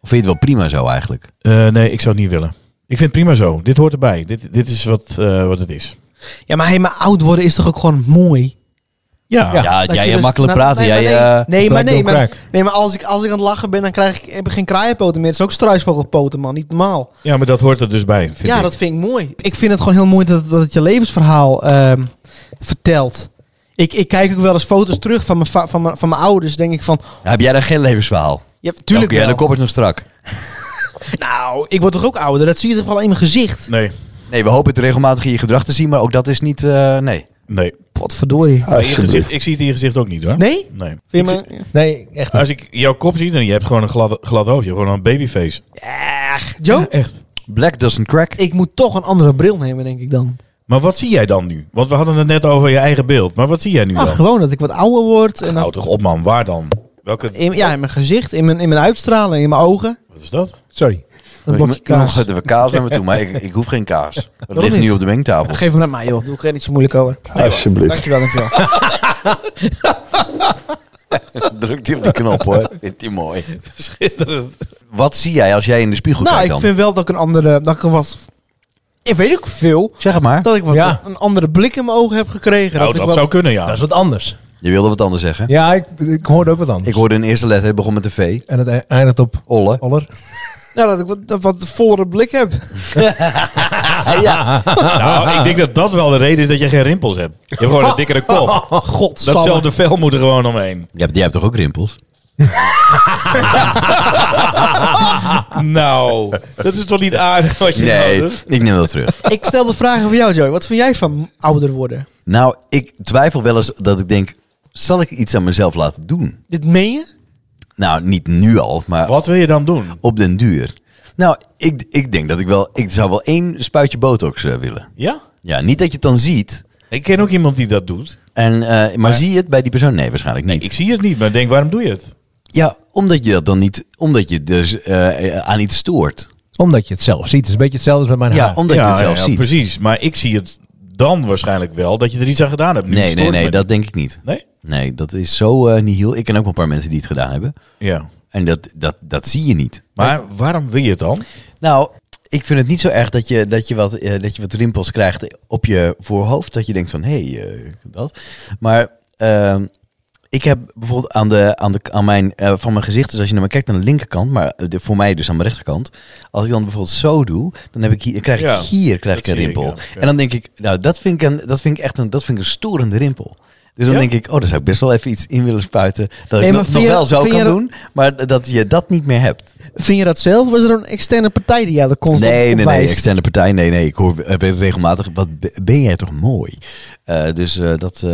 Of vind je het wel prima zo eigenlijk? Eh, nee, ik zou het niet willen. Ik vind het prima zo. Dit hoort erbij. Dit, dit is wat, eh, wat het is. Ja, maar, hey, maar oud worden is toch ook gewoon mooi? Ja. Ja, Dat jij je eh, dus- makkelijk nou, praten. Nee, jij, maar eh, nee. nee, maar, blijkt nee, heel maar, kraak. nee, maar als ik, als ik aan het lachen ben, dan krijg ik, heb ik geen kraaienpoten meer. Het is ook struisvogelpoten, man. Niet normaal. ja, maar dat hoort er dus bij. Vind ja, ik. dat vind ik mooi. Ik vind het gewoon heel mooi dat, dat het je levensverhaal ehm, vertelt. Ik, ik kijk ook wel eens foto's terug van mijn, va- van mijn, van mijn ouders. Denk ik van, Ja, eh, heb jij dan geen levensverhaal? ja, tuurlijk Oké, ja, wel. de kop is nog strak. Nou, ik word toch ook ouder? Dat zie je toch wel in mijn gezicht? Nee, Nee, we hopen het regelmatig in je gedrag te zien, maar ook dat is niet... eh, nee. nee. Potverdorie. Maar in je gezicht, Alsjeblieft. ik zie het in je gezicht ook niet hoor. Nee? Nee. Vind Ik je zie- me... Nee, echt niet. Als ik jouw kop zie, dan je hebt gewoon een glad, glad hoofd. Je hebt gewoon een babyface. Echt, Joe? Echt. Black doesn't crack. (laughs) Ik moet toch een andere bril nemen, denk ik dan. Maar wat zie jij dan nu? Want we hadden het net over je eigen beeld. Maar wat zie jij nu Ach, dan? gewoon dat ik wat ouder word. En Nou dan, toch op man, waar dan? Welke, in, ja, in mijn gezicht, in mijn, in mijn uitstraling, in mijn ogen. wat is dat? (laughs) Sorry. Dat blokje kaas. Nog we kaas naar me toe, (laughs) maar ik, ik hoef geen kaas. Dat ligt niet? nu op de mengtafel. (laughs) Geef hem naar mij, joh. Doe ik er niet zo moeilijk over. Alsjeblieft. Dankjewel, dankjewel. Druk die op de knop hoor. Vindt die mooi. Schitterend. Wat zie jij als jij in de spiegel nou, kijkt dan? ik vind wel dat ik een andere... Dat ik er wat... Ik weet ook veel. Zeg het maar. Dat ik wat Ja. een andere blik in mijn ogen heb gekregen. Nou, Oh, ik dat wat- zou kunnen ja. (laughs) Dat is wat anders. Je wilde wat anders zeggen. Ja, ik, ik hoorde ook wat anders. Ik hoorde een eerste letter, het begon met een V. En het e- eindigt op Oh. Olle. aller. Ja, dat ik wat, dat wat vollere blik (laughs) heb. (laughs) Nou, ik denk dat dat wel de reden is dat je geen rimpels hebt. Je hebt gewoon een (laughs) dikkere Oh, kop. God, Datzelfde vel moet er gewoon omheen. Jij hebt, jij hebt toch ook rimpels? Nou, dat is toch niet aardig wat je nou Ah. Nee, doet? ik neem dat terug. Ik stel de vragen voor jou, Joey. Wat vind jij van ouder worden? Nou, ik twijfel wel eens dat ik denk, zal ik iets aan mezelf laten doen? Dit meen je? Nou, niet nu al, maar Wat wil je dan doen? op den duur. Nou, ik, ik denk dat ik wel, ik zou wel één spuitje botox eh, willen. Ja? Ja, niet dat je het dan ziet. Ik ken ook iemand die dat doet. En, eh, maar, zie je het bij die persoon? Nee, waarschijnlijk niet. Ik zie het niet, maar ik denk, waarom doe je het? Ja, omdat je dat dan niet, omdat je dus eh, aan iets stoort. Omdat je het zelf ziet. Het is een beetje hetzelfde als met mijn Ja, haar. omdat je het zelf ziet. precies. Maar ik zie het dan waarschijnlijk wel dat je er iets aan gedaan hebt. Nu Nee, stoort nee, het nee, me dat denk ik niet. niet. Nee, dat is zo eh nihil. Ik ken ook wel een paar mensen die het gedaan hebben. Nee? Ja. En dat, dat, dat zie je niet. Maar waarom wil je het dan? Nou, ik vind het niet zo erg dat je, dat je, wat, eh, dat je wat rimpels krijgt op je voorhoofd. Dat je denkt van, hé, hey, eh, dat. Maar ehm, ik heb bijvoorbeeld aan de, aan de, aan mijn, eh, van mijn gezicht, dus als je naar me kijkt aan de linkerkant, maar eh, de, voor mij dus aan mijn rechterkant. Als ik dan bijvoorbeeld zo doe, dan, heb ik hier, dan krijg ik Ja, hier krijg ik dat een zie ik, rimpel. ja. Ja. En dan denk ik, nou, dat vind ik, een, dat vind ik echt een, dat vind ik een storende rimpel. Dus dan Ja? denk ik, oh, daar zou ik best wel even iets in willen spuiten. Dat Nee, ik nog, maar vind nog je- wel zo vind kan je dat- doen, maar dat je dat niet meer hebt. Vind je dat zelf? Of is er een externe partij die jou er constant Nee, op nee, nee, wijst? externe partij. Nee, nee, ik hoor eh, regelmatig. Wat be- ben jij toch mooi? Eh, dus eh, dat. eh,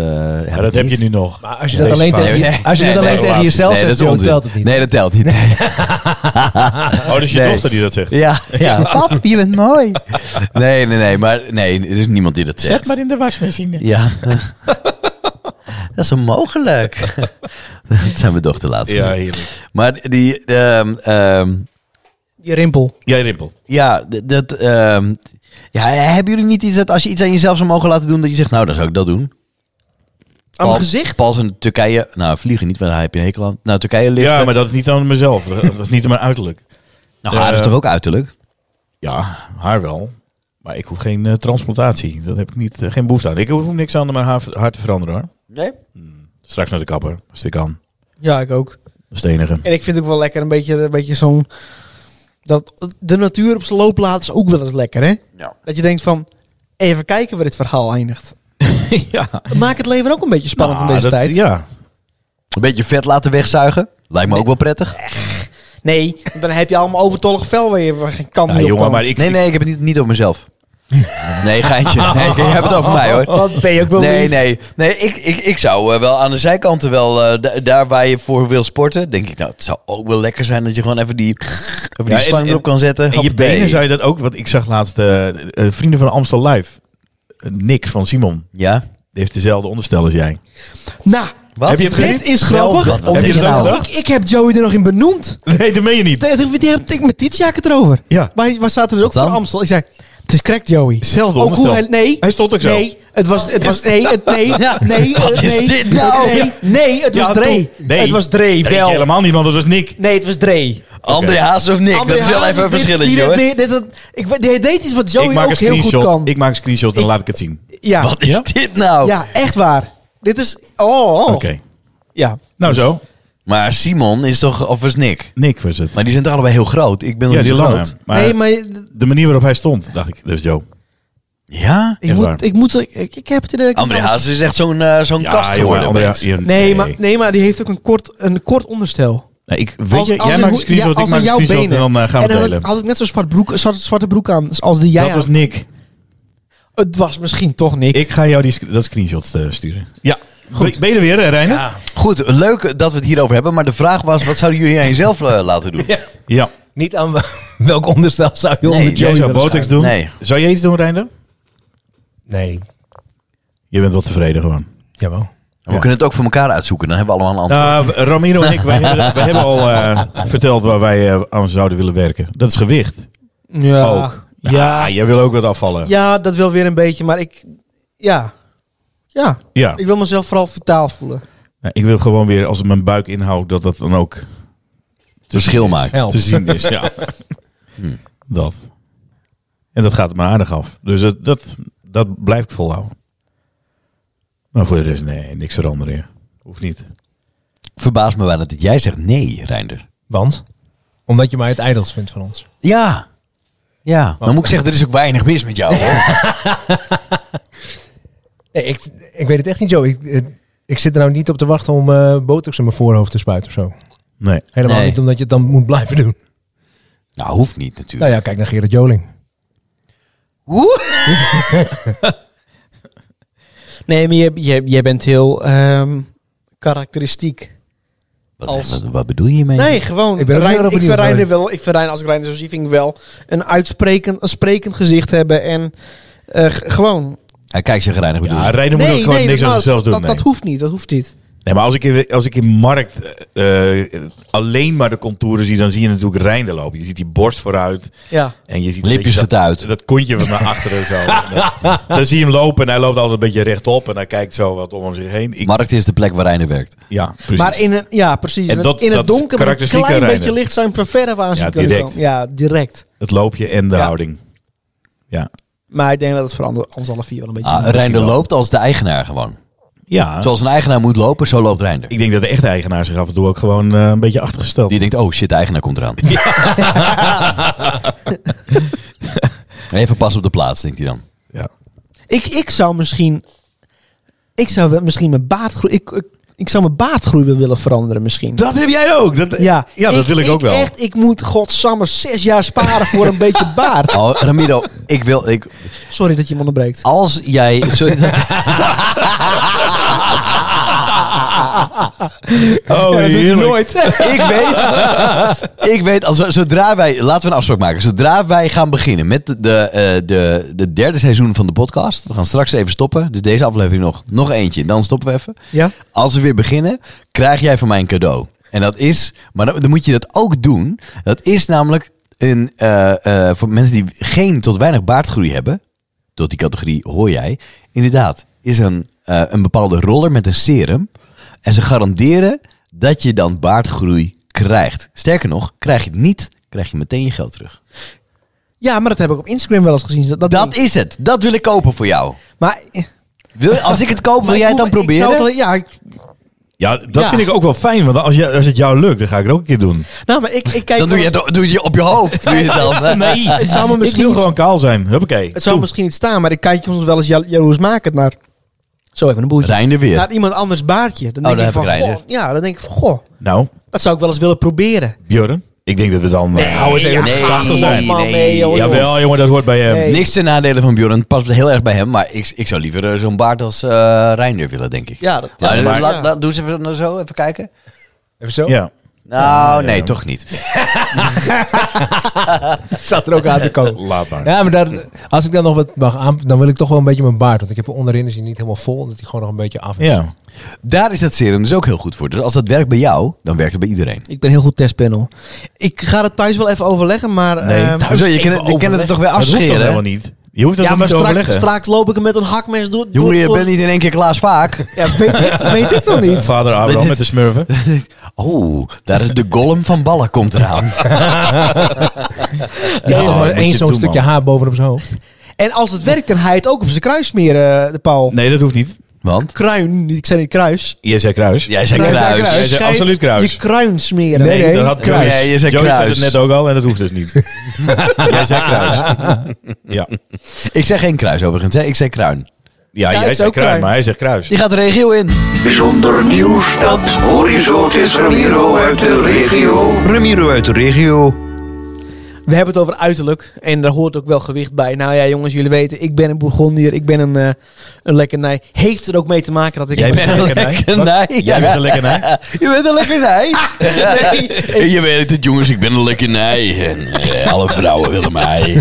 Ja, dat heb je nu nog. Maar als je Deze dat alleen vraag. tegen, je- als je dat alleen tegen relatie. jezelf zegt, dan onzin. telt het niet. Nee, dat telt niet. Oh, dus je Nee. dochter die dat zegt. (laughs) (laughs) Ja, ja. Pap, je bent mooi. Nee, nee, nee, maar nee, er is niemand die dat zegt. in de wasmachine. (laughs) Ja. dat is onmogelijk. (laughs) dat zijn mijn dochter laatst. Ja, heerlijk. Maar die. ehm, ehm, Je rimpel. Jij rimpel. Ja, d- dat. ehm, ja, hebben jullie niet iets dat als je iets aan jezelf zou mogen laten doen, dat je zegt, nou, dan zou ik dat doen? Aan mijn Pal- gezicht? Pals in Turkije, nou, vliegen niet, want daar heb je een hekel aan. Nou, Turkije ligt. Ja, maar dat is niet aan mezelf. Dat is niet aan mijn uiterlijk. nou, haar is eh, toch ook uiterlijk? Ja, haar wel. Maar ik hoef geen eh, transplantatie. Dat heb ik niet, eh, geen behoefte aan. Ik hoef niks aan mijn haar, haar te veranderen hoor. Nee. Straks naar de kapper, als ik kan. Ja, ik ook. Dat is het enige. En ik vind ook wel lekker een beetje, een beetje zo'n... Dat, de natuur op zijn loopplaats is ook wel eens lekker, hè? Ja. Dat je denkt van... Even kijken waar dit verhaal eindigt. ja. Dat maakt het leven ook een beetje spannend Nou, van deze dat- tijd. Ja. Een beetje vet laten wegzuigen. Lijkt me ook wel prettig. Nee, want dan heb je allemaal overtollig vel waar je waar geen kan Nou, meer op jongen, kan. maar ik, Nee, nee, ik heb het niet, niet over mezelf. (laughs) Nee, geintje. Nee, je hebt het over mij hoor. Wat ben je ook wel Nee, lief. nee. Nee, ik, ik, ik zou eh, wel aan de zijkanten wel, eh, da- daar waar je voor wil sporten, denk ik, nou, het zou ook wel lekker zijn dat je gewoon even die, even die Ja, en- slang en- erop kan zetten. En je Hoppatee. benen zou je dat ook, want ik zag laatst eh, eh, Vrienden van Amstel Live. Eh, Nick van Simon. Ja. Die heeft dezelfde onderstel als jij. Nou, Wat? Heb je het gezien? dit is grappig. Wat Om- heb je het ook ik, ik heb Joey er nog in benoemd. Nee, dat meen je niet. Nee, Die heb ik met Tietje het erover. Ja. Maar waar zaten dus ook Wat dan? voor Amstel? Ik zei, het is correct, Joey. Zelfde ook hoe onderstel. hij, Nee. Hij stond ook zo. Nee, het was... Het was nee, het, nee, (laughs) Ja. nee, Wat het- is nee, dit nou? Nee, nee, het was Ja, Dre. toch? Nee. Het was Dre, Dat weet je wel. helemaal niet, want dat was Nick. Nee, het was Dre. André Haas of Nick, dat is wel even een verschilletje hoor. Ik Die deed iets wat Joey ik maak ook een heel goed screenshot. kan. Ik maak een screenshot en Ik- laat ik het zien. ja. Wat is Ja? dit nou? Ja, echt waar. Dit is... Oh. Oké. Ja. Nou zo. Maar Simon is toch, of was Nick? Nick was het. Maar die zijn toch allebei heel groot? Ik ben nog Ja, die niet zo lange. groot. Maar nee, maar ik de manier waarop hij stond, dacht ik, Dus, dat is Joe. Ja? Echt waar. moet, ik moet... Ik, ik heb het idee dat ik- André Haas is echt zo'n eh, zo'n Ah, kast geworden. André- opeens. Ian- Nee, Maar, nee, maar die heeft ook een kort, een kort onderstel. Nee, ik, weet Als- je, als jij in maakt een hoe- ja, screenshot, ik als in maak een jouw screenshot en benen. dan eh, gaan en we het dan oh, had, delen. ik- had ik net zo'n zwart broek, zwart- zwarte broek aan dus als die jij dat aan. was Nick. Het was misschien toch Nick. Ik ga jou die, sc- dat screenshot eh, sturen. Ja. Goed. Ben je er weer, hè, Reiner? Ja. Goed, leuk dat we het hierover hebben. Maar de vraag was, wat zouden jullie aan jezelf eh, laten doen? Niet aan (laughs) welk onderstel zou je Nee, onder Jij Joey zou willen botox schuiven? doen. Nee. Zou jij iets doen, Reiner? Nee, Je bent wel tevreden gewoon. jawel. We kunnen het ook voor elkaar uitzoeken. Dan hebben we allemaal een antwoord. Nou, Ramiro en ik, wij hebben, wij hebben al eh, verteld waar wij eh, aan zouden willen werken. Dat is gewicht. ja. Ook. Ja. Ah, jij wil ook wat afvallen. Ja, dat wil weer een beetje, maar ik... Ja. Ja. Ja. Ik wil mezelf vooral vitaal voelen. Nou, ik wil gewoon weer, als ik mijn buik inhoud, dat dat dan ook Verschil maakt. Help. te zien is. Ja. Hm. Dat. En dat gaat me aardig af. Dus dat, dat, dat blijft volhouden. Maar voor de rest, nee, niks veranderen. ja. Hoeft niet. Verbaas me wel dat jij zegt nee, Reinder. Want? Omdat je mij het ijdels vindt van ons. Ja. Ja. Dan moet ik zeggen, er is ook weinig mis met jou. Hoor. (laughs) Nee, ik, ik weet het echt niet, Joey. Ik, het- ik zit er nou niet op te wachten om eh, botox in mijn voorhoofd te spuiten of zo. Nee. Helemaal Nee. niet omdat je het dan moet blijven doen. nou, hoeft niet Nou natuurlijk. ja, kijk naar Gerard Joling. (laughs) Oeh. Nee, maar jij, jij, jij bent heel ehm, karakteristiek. Wat, Als- wat, wat bedoel je hiermee? Nee, gewoon. Ik ben ook Rein- heel erg ik benieuwd, verrein er Rein. wel. Ik verrein als ik Rein zo zie, vind ik wel een uitsprekend, een sprekend gezicht hebben en eh, g- gewoon. Hij kijkt zich reinig bedoel Ja, je? Reiner moet ook gewoon niks dat- aan zichzelf doen. Dat, nee. dat hoeft niet. Dat hoeft niet. Nee, maar als ik, in- als ik in markt eh, eh, alleen maar de contouren zie, dan zie je natuurlijk Reiner lopen. Je ziet die borst vooruit Ja. en je ziet een Lipjes beetje dat, getuit. dat kontje van naar achteren (laughs) zo. En, eh, dan zie je hem lopen en hij loopt altijd een beetje rechtop en hij kijkt zo wat om zich heen. Ik, Markt is de plek waar Reiner werkt. ja, precies. Maar in een, ja, precies. En In dat- het- in het dat is donker, met een karakteristiek klein aan beetje Reiner. licht zijn van verre aan zien Ja, kunnen direct. komen. Ja, direct. Het loopje en de Ja. houding. Ja. Maar ik denk dat het voor ander- ons alle vier wel een beetje. Ah, Reinder loopt als de eigenaar gewoon. ja. Zoals een eigenaar moet lopen, zo loopt Reinder. Ik denk dat de echte eigenaar zich af en toe ook gewoon eh, een beetje achtergesteld. Die denkt, oh shit, de eigenaar komt eraan. (laughs) Even pas op de plaats, denkt hij dan. Ja. Ik, ik zou misschien. Ik zou wel misschien mijn baardgroei. Ik, ik, ik zou mijn baardgroei wel willen veranderen, misschien. Dat heb jij ook. Dat, ja, dat wil ik ook wel. Echt, (laughs) ik moet godsamme zes jaar sparen voor (laughs) een beetje baard. Oh, Ramiro, ik wil... Ik, Sorry dat je me onderbreekt. als jij... (laughs) Sorry, dat- Oh, heerlijk. ik weet... Ik weet, als we- zodra wij... Laten we een afspraak maken. Zodra wij gaan beginnen met de, de, eh, de, de derde seizoen van de podcast. We gaan straks even stoppen. Dus deze aflevering nog, nog eentje. Dan stoppen we even. Ja? Als we weer beginnen, krijg jij van mij een cadeau. En dat is, maar dan, dan moet je dat ook doen. Dat is namelijk een, eh, eh, voor mensen die geen tot weinig baardgroei hebben. Tot die categorie hoor jij. Inderdaad, is een, eh, een bepaalde roller met een serum. En ze garanderen dat je dan baardgroei krijgt. Sterker nog, krijg je het niet, krijg je meteen je geld terug. Ja, maar dat heb ik op Instagram wel eens gezien. Dat, dat Dat ding. is het. Dat wil ik kopen voor jou. Maar, Wil, als ik het koop, wil maar jij het dan ik- ik zou proberen? het wel- ja, ik- Ja, dat Ja. vind ik ook wel fijn. Want als, je, als het jou lukt, dan ga ik het ook een keer doen. nou, maar ik, ik kijk... Dan doe je wel het, eens- doe je het op je hoofd. Doe je (laughs) het dan. Nee, Het zou me ik misschien, wil gewoon kaal zijn. Huppakee. het zou Toe. misschien niet staan, maar ik kijk soms wel eens jal- jaloersmakend naar... Zo even een boertje. Reinder weer. Naar iemand anders baardje. Dan Oh, denk ik dan van, heb ik goh, Reinder. ja, dan denk ik van, goh, Nou, dat zou ik wel eens willen proberen. Björn, ik denk dat we dan... eh, eens even ja, nee, tachtig zijn. man, nee, nee, joh. joh, Jawel, jongen, dat hoort bij eh, hem. Nee. Niks ten nadele van Bjorn. Het past heel erg bij hem. Maar ik, ik zou liever eh, zo'n baard als eh Reinder willen, denk ik. Ja, dat- ja, maar, maar- laat- ja. laat- doe ze even zo, even kijken. Even zo? Ja. Nou, nee, toch niet. Zat er ook aan te (laughs) komen. Laat maar. Ja, maar daar, als ik dan nog wat mag aan, dan wil ik toch wel een beetje mijn baard. Want ik heb er onderin is hij niet helemaal vol, dat hij gewoon nog een beetje af is. Ja. Daar is dat serum dus ook heel goed voor. Dus als dat werkt bij jou, dan werkt het bij iedereen. Ik ben heel goed testpanel. Ik ga dat thuis wel even overleggen, maar... Nee, ehm, thuis Hoezo, je even kan het- je kan het er toch weer Maar Dat hoeft toch afscheren? helemaal niet? Je hoeft dat ja, toch maar maar te straks, overleggen? straks loop ik hem met een hakmes door. door- Jongen, je door- bent niet in één keer Klaas Vaak. Ja, weet ik, (laughs) weet ik toch niet. Vader Dit Abraham is- met de smurven. Oh, daar is de golem van Ballen komt eraan. Die had Ja, toch maar moet je één zo'n doen, stukje man. haar bovenop zijn hoofd. En als het werkt, dan ga je het ook op zijn kruis smeren, eh, de paal. Nee, dat hoeft niet. Want? Kruin, niet- ik zei niet kruis. Jij zei kruis. Jij zei Jij zei kruis. Jij zei Ga je absoluut kruis. Je kruin smeren. Nee, dat had kruis. Nee, je zei Joey kruis. het net ook al en dat hoeft dus (laughs) niet. Jij zei kruis. Ja, Ik zeg geen kruis overigens, hè. ik zeg kruin. ja het jij is zei ook kruis, kruin. maar hij zegt kruis. Die gaat de regio in. Bijzonder nieuws dat Horizon is Ramiro uit de regio. Ramiro uit de regio. We hebben het over uiterlijk en daar hoort ook wel gewicht bij. Nou ja, jongens, jullie weten, ik ben een Bourgondier, ik ben een, eh een lekkernij. Heeft er ook mee te maken dat ik... Jij (laughs) bent een (laughs) lekkernij. lekkernij. Jij bent een lekkernij. Je bent een lekkernij. (laughs) nee. Je weet het, jongens, ik ben een lekkernij. En eh, alle vrouwen willen mij.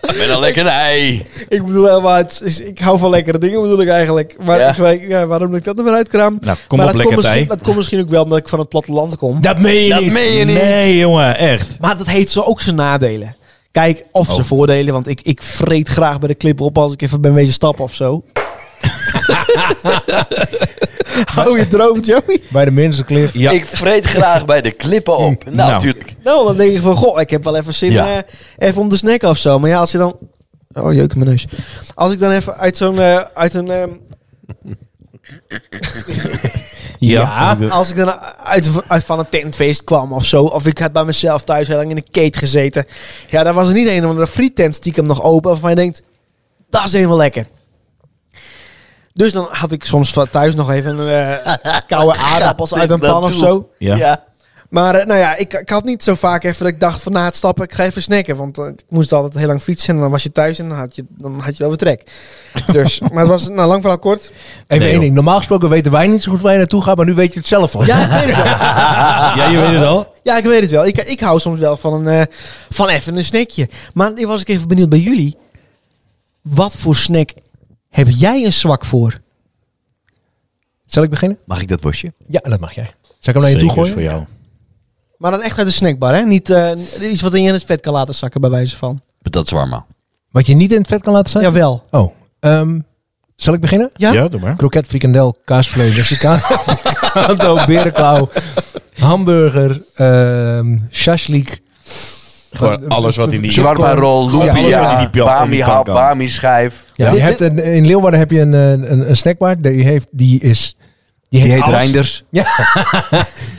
Ik ben een lekkernij. Ik bedoel, helemaal, het is- ik hou van lekkere dingen, bedoel ik eigenlijk. Maar Ja. ik weet- ja, waarom ik dat nou weer uitkraam? Nou, kom maar op, lekker dat komt misschien, tij. dat komt misschien ook wel omdat ik van het platteland (laughs) kom. Dat meen je Dat niet. meen je niet. Nee, jongen, echt. Maar dat heeft zo ook zijn nadelen. Kijk, of Oh. zijn voordelen, want ik, ik vreet graag bij de clip op als ik even ben wezen stappen of (laughs) zo. (laughs) Hou je droomt, Joey. Bij de Minstercliff. Ja. Ik vreet graag bij de klippen op. Nou, Nou. natuurlijk. Nou, dan denk ik van, goh, ik heb wel even zin Ja. eh, even om de snack of zo. Maar ja, als je dan... Oh, jeuk in mijn neus. Als ik dan even uit zo'n... eh, uit een, ehm, Ja. als ik dan uit, uit van een tentfeest kwam of zo... of ik had bij mezelf thuis heel lang in een keet gezeten... ja, daar was er niet een of andere friettent stiekem nog open... waarvan je denkt, dat is helemaal lekker. Dus dan had ik soms van thuis nog even (laughs) eh, koude aardappels uit een dit pan dan of toe? zo. Ja. Maar eh, nou ja, ik, ik had niet zo vaak even dat ik dacht van na het stappen, ik ga even snacken. Want eh, ik moest altijd heel lang fietsen en dan was je thuis en dan had je, dan had je wel weer trek. (laughs) Dus, maar het was nou, lang verhaal kort. Even Nee, één joh. ding. Normaal gesproken weten wij niet zo goed waar je naartoe gaat, maar nu weet je het zelf al. (laughs) Ja, ik ja, je weet weet het wel. het (laughs) al. Ja, ik weet het wel. Ik, ik hou soms wel van, een, eh, van even een snackje. Maar nu was ik even benieuwd bij jullie. Wat voor snack heb jij een zwak voor? Zal ik beginnen? Mag ik dat worstje? Ja, dat mag jij. Zal ik hem naar je toe Zeker is gooien? voor jou. Maar dan echt uit de snackbar, hè? Niet eh, iets wat je in het vet kan laten zakken, bij wijze van. Dat zwarma. Wat je niet in het vet kan laten zijn? Jawel. Oh. ehm, zal ik beginnen? Ja? Ja, doe maar. Kroket, frikandel, kaasvlees, Mexicaan, (laughs) kanto, berenklauw, hamburger, ehm shashlik. Gewoon alles wat in die... Zwaar- Zwarma rol, Ja, alles wat in die lumpia, pan- in bami die pan hap, kan. bami schijf. Ja, je hebt een, in Leeuwarden heb je een, eh, een, een snackbar. Die, heeft, die is... Die heet alles. Reinders. Nee,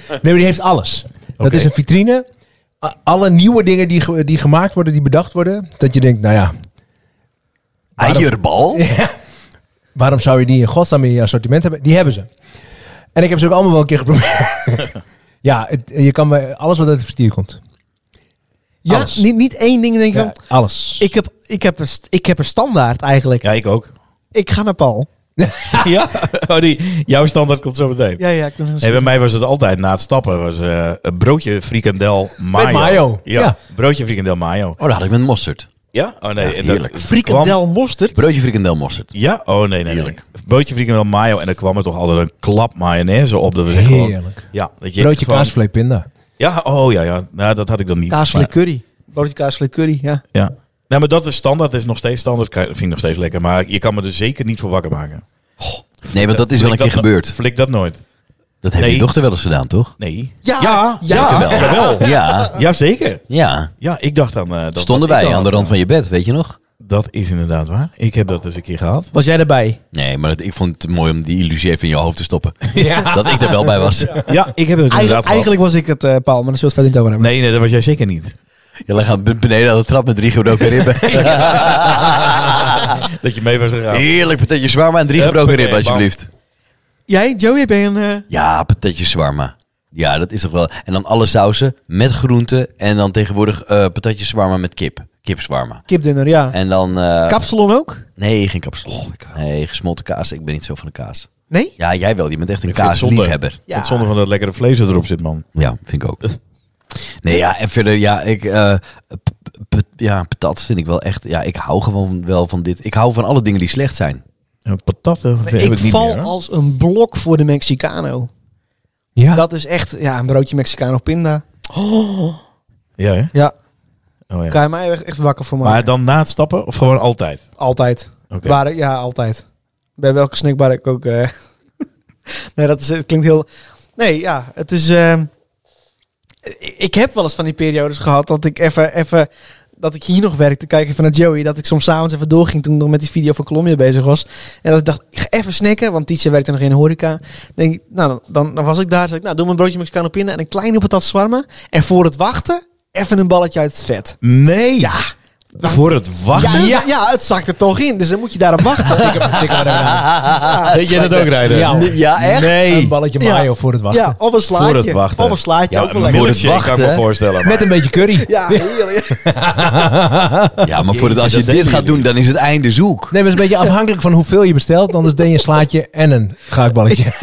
maar die heeft alles. Dat is een vitrine. A- Alle nieuwe dingen die, ge- die gemaakt worden, die bedacht worden. Dat je denkt, nou ja, Eierbal. waarom zou je die in godsnaam in je assortiment hebben? Die hebben ze. En ik heb ze ook allemaal wel een keer geprobeerd. ja, het- je kan bij alles wat uit de frituur komt. Ja, Alles. niet, niet één ding denk ik Ja, van, alles. Ik heb, ik, heb een, st- ik heb een standaard eigenlijk. Ja, ik ook. Ik ga naar Paul. ja? Oh, die, jouw standaard komt zo meteen. Ja, ja. Ik ben Nee, bij mij was het altijd na het stappen was eh, een broodje frikandel mayo. mayo, Ja, ja. broodje frikandel mayo. Oh, dat had ik met mosterd. Ja? Oh nee. en dat heerlijk. kwam- Frikandel mosterd. Broodje frikandel mosterd. Ja? Oh nee, nee, nee. Heerlijk. Broodje frikandel mayo en dan kwam er toch altijd een klap mayonaise op. Dat was echt gewoon- Heerlijk. Ja, dat je Broodje gewoon- kaasvlees pinda. Ja, oh ja, ja. Nou, dat had ik dan niet. Kaasvlees Maar- curry. Broodje kaasvlees curry, ja. Ja. Nou, maar dat is standaard. Dat is nog steeds standaard. Ka- Vind ik nog steeds lekker. Maar je kan me er zeker niet voor wakker maken. Nee, want dat is wel een Flik keer gebeurd. Flik dat nooit. Dat heeft Nee. je dochter wel eens gedaan, toch? Nee. Ja, ja. Jawel. Jawel. Ja. Jazeker. Ja. Ja, ik dacht aan... eh, dat Stonden dat wij ik dan aan de had rand van je bed, weet je nog? gedaan. Dat is inderdaad waar. Ik heb dat eens een keer gehad. Was jij erbij? Nee, maar het- ik vond het mooi om die illusie even in je hoofd te stoppen. (laughs) Dat ik er wel bij was. Ja, ik heb het inderdaad Eigen, gehad. eigenlijk was ik het, eh, Paul, maar daar zullen we het verder niet over hebben. Nee, nee, dat was jij zeker niet. Je lag aan beneden aan de trap met drie gebroken ribben. (laughs) Dat je mee was gegaan. Heerlijk patatje zwarma en drie gebroken Huppakee, ribben, alsjeblieft. Jij, Joey, ben je een... eh, Ja, patatje zwarma. Ja, dat is toch wel. En dan alle sausen met groenten. En dan tegenwoordig eh patatje zwarma met kip. Kip zwarma. kipdinner, ja. En dan... eh, Kapsalon ook? nee, geen kapsel. nee, gesmolten kaas. Ik ben niet zo van de kaas. Nee? Ja, jij wel. Je bent echt een Ik vind het zonde. kaasliefhebber. Het zonde van dat lekkere vlees dat erop zit, man. Ja, vind ik ook. Nee, ja, en verder, ja, ik, eh, p- p- ja, patat vind ik wel echt, ja, ik hou gewoon wel van dit. Ik hou van alle dingen die slecht (laughs) zijn. Een patat eh, heb Ik ik niet val meer, hoor. als een blok voor de Mexicano. Ja. Dat is echt, ja, een broodje Mexicano pinda. Ja, hè? Ja, Oh, ja. kan je mij echt, echt wakker voor maken. Maar dan na het stappen of gewoon altijd? Altijd. Oké. Waar, ja, altijd. Bij welke snackbar ik ook... eh, (laughs) nee, dat is, het klinkt heel... Nee, ja, ehm, het is... eh, ik- ik heb wel eens van die periodes gehad dat ik even, even dat ik hier nog werkte, kijken vanuit Joey, dat ik soms s'avonds even doorging toen ik nog met die video van Colombia bezig was. En dat ik dacht, ik ga even snacken, want Tietje werkte nog in de horeca. Dan Denk ik, nou, dan, dan, dan was ik daar. Zeg ik, nou, doe me een broodje Mexicano pinda en een kleine patat zwarmen. En voor het wachten, even een balletje uit het vet. Nee. Ja. Voor het wachten. Ja, ja, ja, het zakt er toch in, dus dan moet je daarop wachten. Deed jij dat ook rijden? Ja. Ja, echt? Nee. Een balletje mayo voor het wachten. ja, of een slaatje. Voor het wachten. Of een slaatje, Ja, ook wel maar voor lekker. het wachten. Kan ik me voorstellen. Met maar- een beetje curry. Ja, (laughs) heerlijk. Ja, maar voor het, als dat je dit denken gaat doen, dan is het einde zoek. Nee, maar het is een beetje afhankelijk van hoeveel je bestelt. Anders deed je een slaatje en een gaakballetje.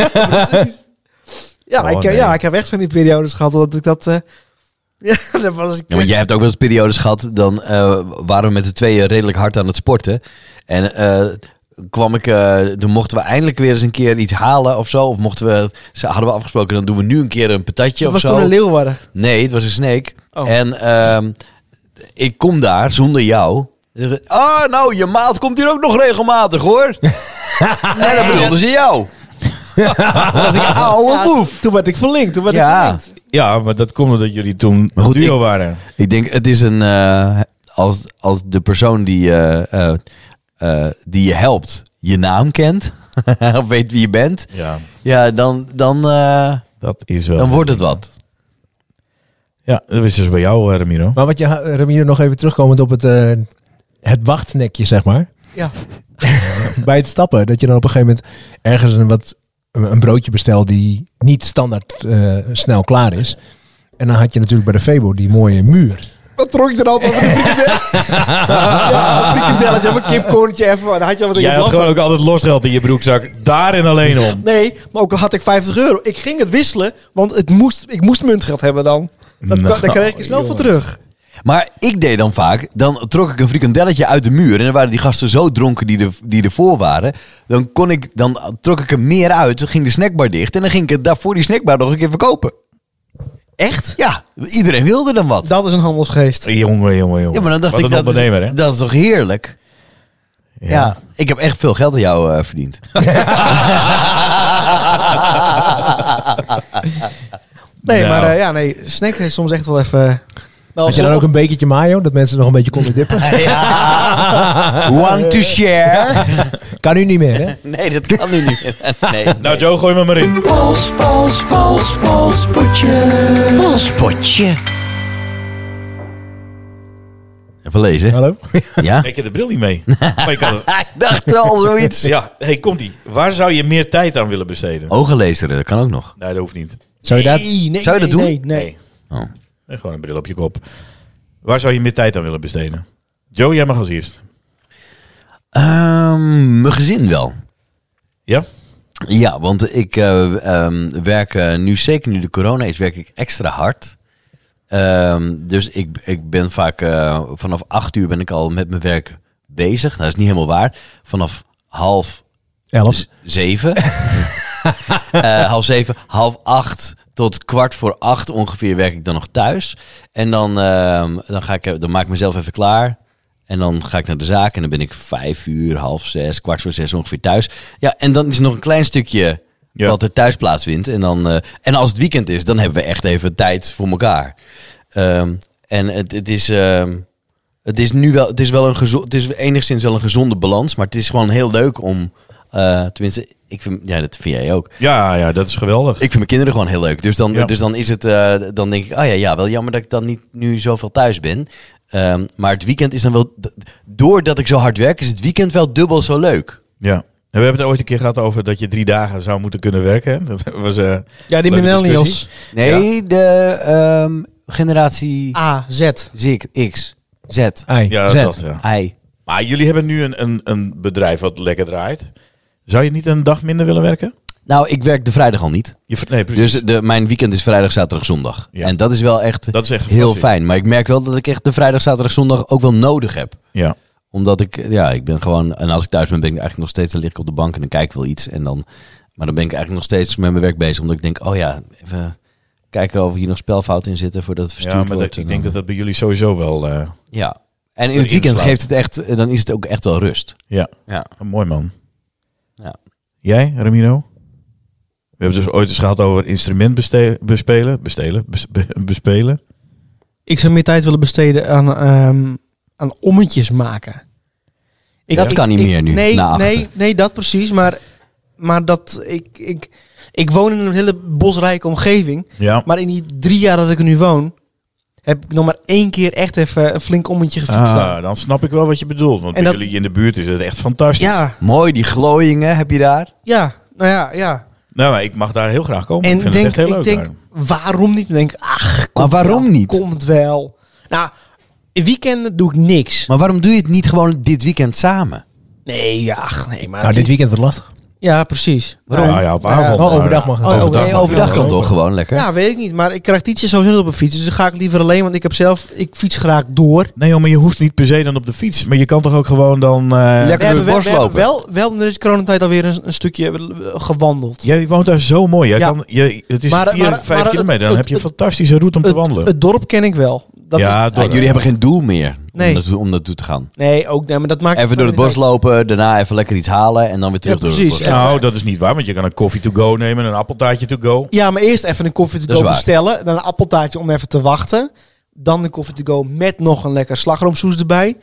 Ja, Oh, ik, eh, nee. ja, ik heb echt van die periodes gehad dat ik dat... eh, (laughs) ja, dat was ik... Ja, want jij hebt ook wel eens periodes gehad, dan eh, waren we met z'n tweeën redelijk hard aan het sporten. En eh, kwam ik, eh dan mochten we eindelijk weer eens een keer iets halen of zo. Of mochten we, ze hadden we afgesproken, dan doen we nu een keer een patatje dat of was zo. toen een Leeuwarden. Nee, het was een snake. Oh. En ehm, ik kom daar zonder jou. Ze zeggen, Ah, nou, je maat komt hier ook nog regelmatig (laughs) hoor. En dan bedoelden ze jou. Dan dacht ik, ouwe boef. Toen werd ik verlinkt. Toen werd ik Ja. verlinkt. Ja, maar dat komt omdat jullie toen Maar goed, duo ik- waren. Ik denk, het is een. eh, als, als de persoon die, eh, eh, eh, die je helpt je naam kent, (laughs) of weet wie je bent, Ja. ja, dan, dan, eh, Dat is wel. dan wordt het wat. Ja, dat is dus bij jou, eh, Ramiro. Maar wat je, Ramiro, nog even terugkomend op het, eh, het wachtnekje, zeg maar. Ja. Bij het stappen, dat je dan op een gegeven moment ergens een, wat, een broodje bestelt die niet standaard eh, snel klaar is. En dan had je natuurlijk bij de Febo die mooie muur. Wat trok ik er altijd over de frikandel? (laughs) ja, een frikandelletje, even een kipkorntje, even. Dan had je al wat in je Jij had blad. gewoon ook altijd losgeld in je broekzak. Daar en alleen om. Nee, maar ook al had ik 50 euro. Ik ging het wisselen, want het moest, ik moest muntgeld hebben dan. Dat, kan- Nou, daar (laughs) kreeg ik er snel voor terug. Maar ik deed dan vaak, dan trok ik een frikandelletje uit de muur. En dan waren die gasten zo dronken die, er die ervoor waren. Dan, kon ik, dan trok ik er meer uit, dan ging de snackbar dicht. En dan ging ik het daarvoor die snackbar nog een keer verkopen. Echt? Ja, iedereen wilde dan wat. Dat is een handelsgeest. Jongen, jongen, jongen. ja, maar dan dacht Wat ik, een dat ondernemer, is, hè? dat is toch heerlijk? Ja. ik heb echt veel geld aan jou eh, (laughs) verdiend. Nee, Nou. maar eh, ja, nee, snacken is soms echt wel even... Wel, Had je dan ook een bekertje mayo, dat mensen nog een beetje (laughs) konden dippen? Want to share? Kan nu niet meer, hè? Nee, dat kan nu niet. (laughs) Nee. Nou, Joe, gooi me maar in. Pols, pols, pols, polspotje. Polspotje. Even lezen. Hallo? Ja? Ik heb de bril niet (laughs) mee. Maar je kan het. Ik dacht al zoiets. Ja, hey, komt-ie. Waar zou je meer tijd aan willen besteden? Ogen lezen, dat kan ook nog. Nee, dat hoeft niet. Zou je dat... Nee, nee, Zou je dat nee, doen? Nee, nee. Nee. Oh. Nee, Gewoon een bril op je kop. Waar zou je meer tijd aan willen besteden? Joe, jij mag als eerst. Ehm, mijn gezin wel. Ja? Ja, want ik eh, ehm, werk eh, nu, zeker nu de corona is, werk ik extra hard. Ehm, dus ik, ik ben vaak eh, vanaf acht uur ben ik al met mijn werk bezig. Nou, dat is niet helemaal waar. Vanaf half Elf. Z- zeven. Eh, half zeven, half acht tot kwart voor acht ongeveer werk ik dan nog thuis. En dan, ehm, dan, ga ik, dan maak ik mezelf even klaar. En dan ga ik naar de zaak en dan ben ik vijf uur, half zes, kwart voor zes ongeveer thuis. Ja, en dan is er nog een klein stukje Ja. wat er thuis plaatsvindt. En, dan, eh, en als het weekend is, dan hebben we echt even tijd voor elkaar. Ehm, en het, het is... ehm, het is nu wel, het is wel een gezo- het is enigszins wel een gezonde balans, maar het is gewoon heel leuk om, eh, tenminste, ik vind, ja, dat vind jij ook. Ja, ja, dat is geweldig. Ik vind mijn kinderen gewoon heel leuk, dus dan, Ja. dus dan is het, eh, dan denk ik, oh ja, ja, wel jammer dat ik dan niet nu zoveel thuis ben. Ehm, maar het weekend is dan wel, d- doordat ik zo hard werk, is het weekend wel dubbel zo leuk. Ja. En we hebben het ooit een keer gehad over dat je drie dagen zou moeten kunnen werken. hè? Dat was, eh, Ja, Leuke die millennials. discussie. Nee, de ehm, generatie A, Z. Z, X, Z, Ei, ja, zet. dat, ja. I. Maar jullie hebben nu een, een, een bedrijf wat lekker draait. Zou je niet een dag minder willen werken? Nou, ik werk de vrijdag al niet. Je, ver- nee, precies. Dus de, mijn weekend is vrijdag, zaterdag, zondag. Ja. En dat is wel echt, Dat is echt heel fantastisch. fijn. Maar ik merk wel dat ik echt de vrijdag, zaterdag, zondag ook wel nodig heb. Ja. Omdat ik, ja, ik ben gewoon... En als ik thuis ben, ben ik eigenlijk nog steeds... Dan lig ik op de bank en dan kijk ik wel iets. En dan, maar dan ben ik eigenlijk nog steeds met mijn werk bezig. Omdat ik denk, oh ja, even kijken of hier nog spelfouten in zitten... voordat het ja, verstuurd maar dat- wordt. ik En denk dan- dat dat bij jullie sowieso wel... eh, Ja. En in dat het weekend inslaat. geeft het echt... Dan is het ook echt wel rust. ja, Ja. een mooi man. Ja. Jij, Ramiro? We hebben dus ooit eens gehad over instrument beste- bespelen. Bestelen? Bes- be- bespelen? Ik zou meer tijd willen besteden aan ehm, aan ommetjes maken. Ik- Dat ik- kan niet ik- meer nu, Nee, na achter. nee, nee, dat precies. Maar, maar dat, ik, ik, ik woon in een hele bosrijke omgeving. Ja. Maar in die drie jaar dat ik er nu woon, heb ik nog maar één keer echt even een flink ommetje gefietst. daar. Ah, dan snap ik wel wat je bedoelt. Want En bij dat- jullie in de buurt is het echt fantastisch. Ja, Mooi, die glooiingen heb je daar. ja, nou ja, ja. Nou, maar ik mag daar heel graag komen. En ik vind denk, het echt heel ik leuk denk, daar. waarom niet? En denk, ach, komt waarom wel, niet? Komt wel. Nou, in weekenden doe ik niks. Maar waarom doe je het niet gewoon dit weekend samen? Nee, ach, nee, maar... Nou, dit weekend wordt lastig. Ja, precies. Waarom? Ja, ja, op avond. Oh, overdag mag het. Oh, wel. overdag. nee, overdag mag kan het toch gewoon lekker? Ja, Nou, weet ik niet. Maar ik krijg tietje sowieso niet op een fiets. Dus dan ga ik liever alleen. Want ik heb zelf... Ik fiets graag door. Nee, joh, maar je hoeft niet per se dan op de fiets. Maar je kan toch ook gewoon dan... eh, Lekker hebben, door wel- het bos we hebben lopen. wel, wel in de coronatijd alweer een, een stukje eh, gewandeld. Jij woont daar zo mooi. Jij Ja. kan, je, het is Maar- 4, maar- 5 maar- kilometer. Dan het- heb je een het- fantastische route om te het, wandelen. het dorp ken ik wel. Dat ja, is, door- Ja, jullie hebben geen doel meer Nee. om, dat, om dat toe te gaan. nee, ook nee, maar dat maakt... Even door het bos lopen, daarna even lekker iets halen en dan weer terug Ja, door het precies. bos. Ja. Nou, dat is niet waar. Want je kan een koffie to go nemen, een appeltaartje to go. Ja, maar eerst even een koffie to Dat is go waar. bestellen. Dan een appeltaartje om even te wachten. Dan een koffie to go met nog een lekker slagroomsoes erbij.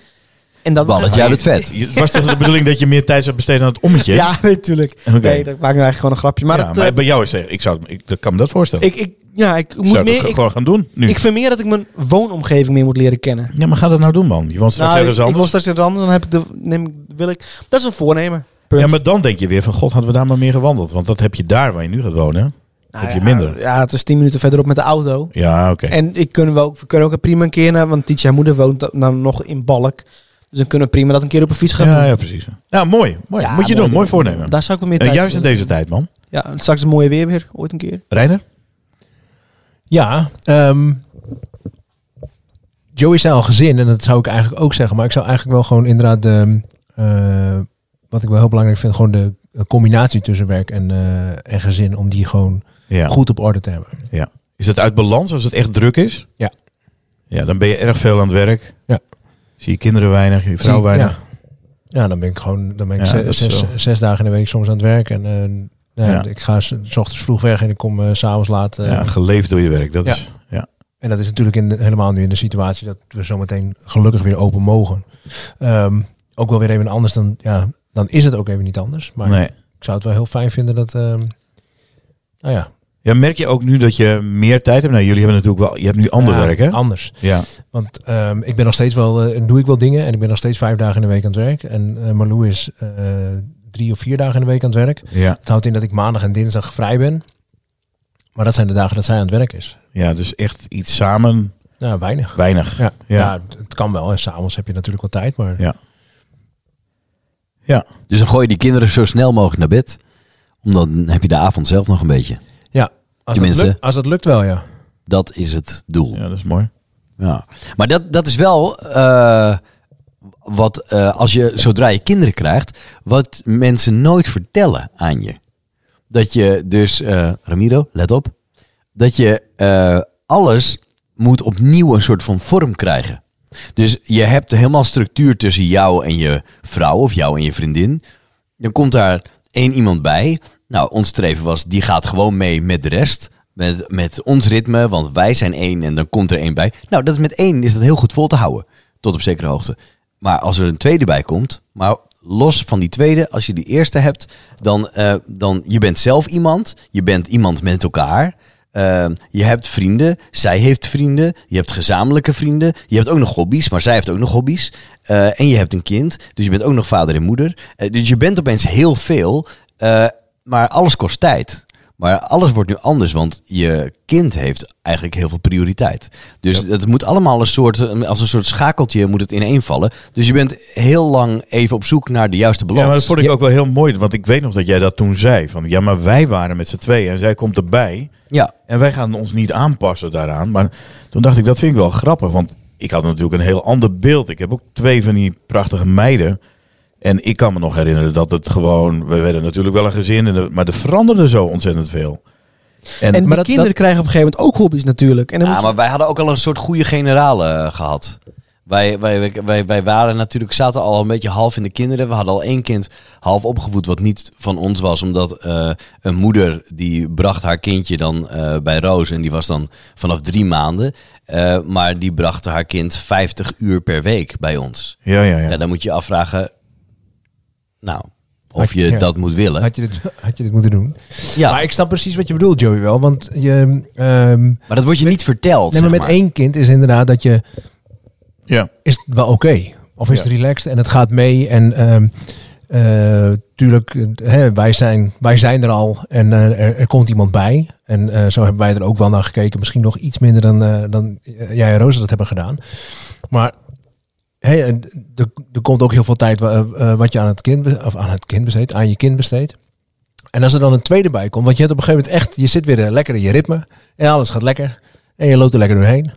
En dan nog Balletje even- uit het vet. Je- Het was toch de bedoeling dat je meer tijd zou besteden aan het ommetje? Ja, (laughs) natuurlijk. Oké. Nee, dat maakt nu eigenlijk gewoon een grapje. Maar, Ja, dat, maar eh, bij jou is het... Ik, zou, ik dat kan me dat voorstellen. ik, ik, ja, ik zou moet ik meer... dat ik- gewoon gaan doen nu. Ik vind meer dat ik mijn woonomgeving meer moet leren kennen. ja, maar ga dat nou doen, man. Je woont straks Nou, ergens ik, ik anders. was straks in het anders, dan heb ik de, neem, ik- wil ik. Dat is een voornemen. Punt. Ja, maar dan denk je weer van... God, hadden we daar maar meer gewandeld. Want dat heb je daar waar je nu gaat wonen. Nou heb je ja, minder. Ja, het is tien minuten verderop met de auto. Ja, oké. En ik kunnen we, ook, we kunnen ook een prima een keer naar, want Tietje, haar moeder woont dan nog in Balk. Dus dan kunnen we prima dat een keer op een fiets gaan Ja, doen. ja, precies. Nou, mooi. mooi. Ja, Moet je mooi. doen. Mooi voornemen. Daar zou ik wel meer Eh, tijd juist in voor deze tijd, man. hebben. Ja, straks een mooie weer weer, ooit een keer. Reiner? Ja, ehm Joey zei al gezin en dat zou ik eigenlijk ook zeggen. Maar ik zou eigenlijk wel gewoon inderdaad de, eh, wat ik wel heel belangrijk vind, gewoon de combinatie tussen werk en, eh, en gezin, om die gewoon Ja. goed op orde te hebben. Ja. Is het uit balans als het echt druk is? Ja. Ja, dan ben je erg veel aan het werk. Ja. Zie je kinderen weinig, je vrouw Zie- weinig. Ja. ja, dan ben ik gewoon dan ben ik Ja, ze- dat is zes, zo. zes dagen in de week soms aan het werk. En eh, nou ja, Ja. ik ga s, s ochtends vroeg weg en ik kom eh, s s'avonds laat. Ja. eh, geleefd door je werk. Dat Ja. is, ja. En dat is natuurlijk in de- helemaal nu in de situatie dat we zometeen gelukkig weer open mogen. Ehm, ook wel weer even anders dan, ja, dan is het ook even niet anders. Maar Nee. ik zou het wel heel fijn vinden dat, ehm, nou ja. ja, merk je ook nu dat je meer tijd hebt? Nou, jullie hebben natuurlijk wel, je hebt nu ander ja, werk, hè? Anders. Ja. Want ehm, ik ben nog steeds wel, eh, doe ik wel dingen en ik ben nog steeds vijf dagen in de week aan het werk. En eh Marlou is eh, drie of vier dagen in de week aan het werk. Ja. Het houdt in dat ik maandag en dinsdag vrij ben. Maar dat zijn de dagen dat zij aan het werk is. ja, dus echt iets samen, Nou, weinig. weinig. Ja, Ja. ja. het kan wel. En s'avonds heb je natuurlijk wel tijd, maar... Ja. Ja. Dus dan gooi je die kinderen zo snel mogelijk naar bed. Omdat dan heb je de avond zelf nog een beetje. Ja, als, dat Tenminste. lukt, als dat lukt wel, ja. Dat is het doel. ja, dat is mooi. Ja. Maar dat, dat is wel eh, wat, eh, als je, zodra je kinderen krijgt, wat mensen nooit vertellen aan je. Dat je dus, eh, Ramiro, let op, dat je eh, alles moet opnieuw een soort van vorm krijgen. Dus je hebt helemaal structuur tussen jou en je vrouw of jou en je vriendin. Dan komt daar één iemand bij. Nou, ons streven was, die gaat gewoon mee met de rest. Met, met ons ritme, want wij zijn één en dan komt er één bij. Nou, dat is met één is dat heel goed vol te houden. Tot op zekere hoogte. Maar als er een tweede bij komt, maar los van die tweede, als je die eerste hebt, dan, eh, dan je bent zelf iemand. Je bent iemand met elkaar. Eh, je hebt vrienden, zij heeft vrienden, je hebt gezamenlijke vrienden, je hebt ook nog hobby's, maar zij heeft ook nog hobby's. Eh, en je hebt een kind, dus je bent ook nog vader en moeder. Eh, dus je bent opeens heel veel, eh, maar alles kost tijd. Maar alles wordt nu anders, want je kind heeft eigenlijk heel veel prioriteit. Dus het moet allemaal een soort, als een soort schakeltje moet het ineenvallen. Dus je bent heel lang even op zoek naar de juiste balans. Ja, maar dat vond ik ook wel heel mooi, want ik weet nog dat jij dat toen zei. Van, ja, maar wij waren met z'n tweeën en zij komt erbij. Ja. En wij gaan ons niet aanpassen daaraan. Maar toen dacht ik, dat vind ik wel grappig. Want ik had natuurlijk een heel ander beeld. Ik heb ook twee van die prachtige meiden. En ik kan me nog herinneren dat het gewoon... We werden natuurlijk wel een gezin, en de- maar er veranderde zo ontzettend veel. En, En maar de dat- kinderen krijgen op een gegeven moment ook hobby's natuurlijk. En dan Ja, moet je- maar wij hadden ook al een soort goede generale eh, gehad. Wij, wij, wij, wij waren natuurlijk, zaten al een beetje half in de kinderen. We hadden al één kind half opgevoed, wat niet van ons was. Omdat eh, een moeder, die bracht haar kindje dan eh, bij Roos. En die was dan vanaf drie maanden. Eh, maar die bracht haar kind 50 uur per week bij ons. Ja, ja, Ja, ja. dan moet je je afvragen, nou, Had of je- je ja. dat moet willen. Had je, dit, (laughs) had je dit moeten doen? Ja, Maar maar, ik snap precies wat je bedoelt, Joey, wel. Want je, ehm, dat wordt je niet verteld. nee, maar zeg met één kind is inderdaad dat je... ja. Is het wel oké? Of is Ja. het relaxed en het gaat mee? En ehm, eh, tuurlijk, eh, hè, wij, zijn, wij zijn er al en eh, er, er komt iemand bij. En eh, zo hebben wij er ook wel naar gekeken. Misschien nog iets minder dan, eh, dan eh, jij en Rosa dat hebben gedaan. Maar hè, en er, er komt ook heel veel tijd wa- eh, wat je aan het kind, be- of aan het kind besteedt, aan je kind besteedt. En als er dan een tweede bij komt, want je hebt op een gegeven moment echt, je zit weer eh, lekker in je ritme en alles gaat lekker en je loopt er lekker doorheen.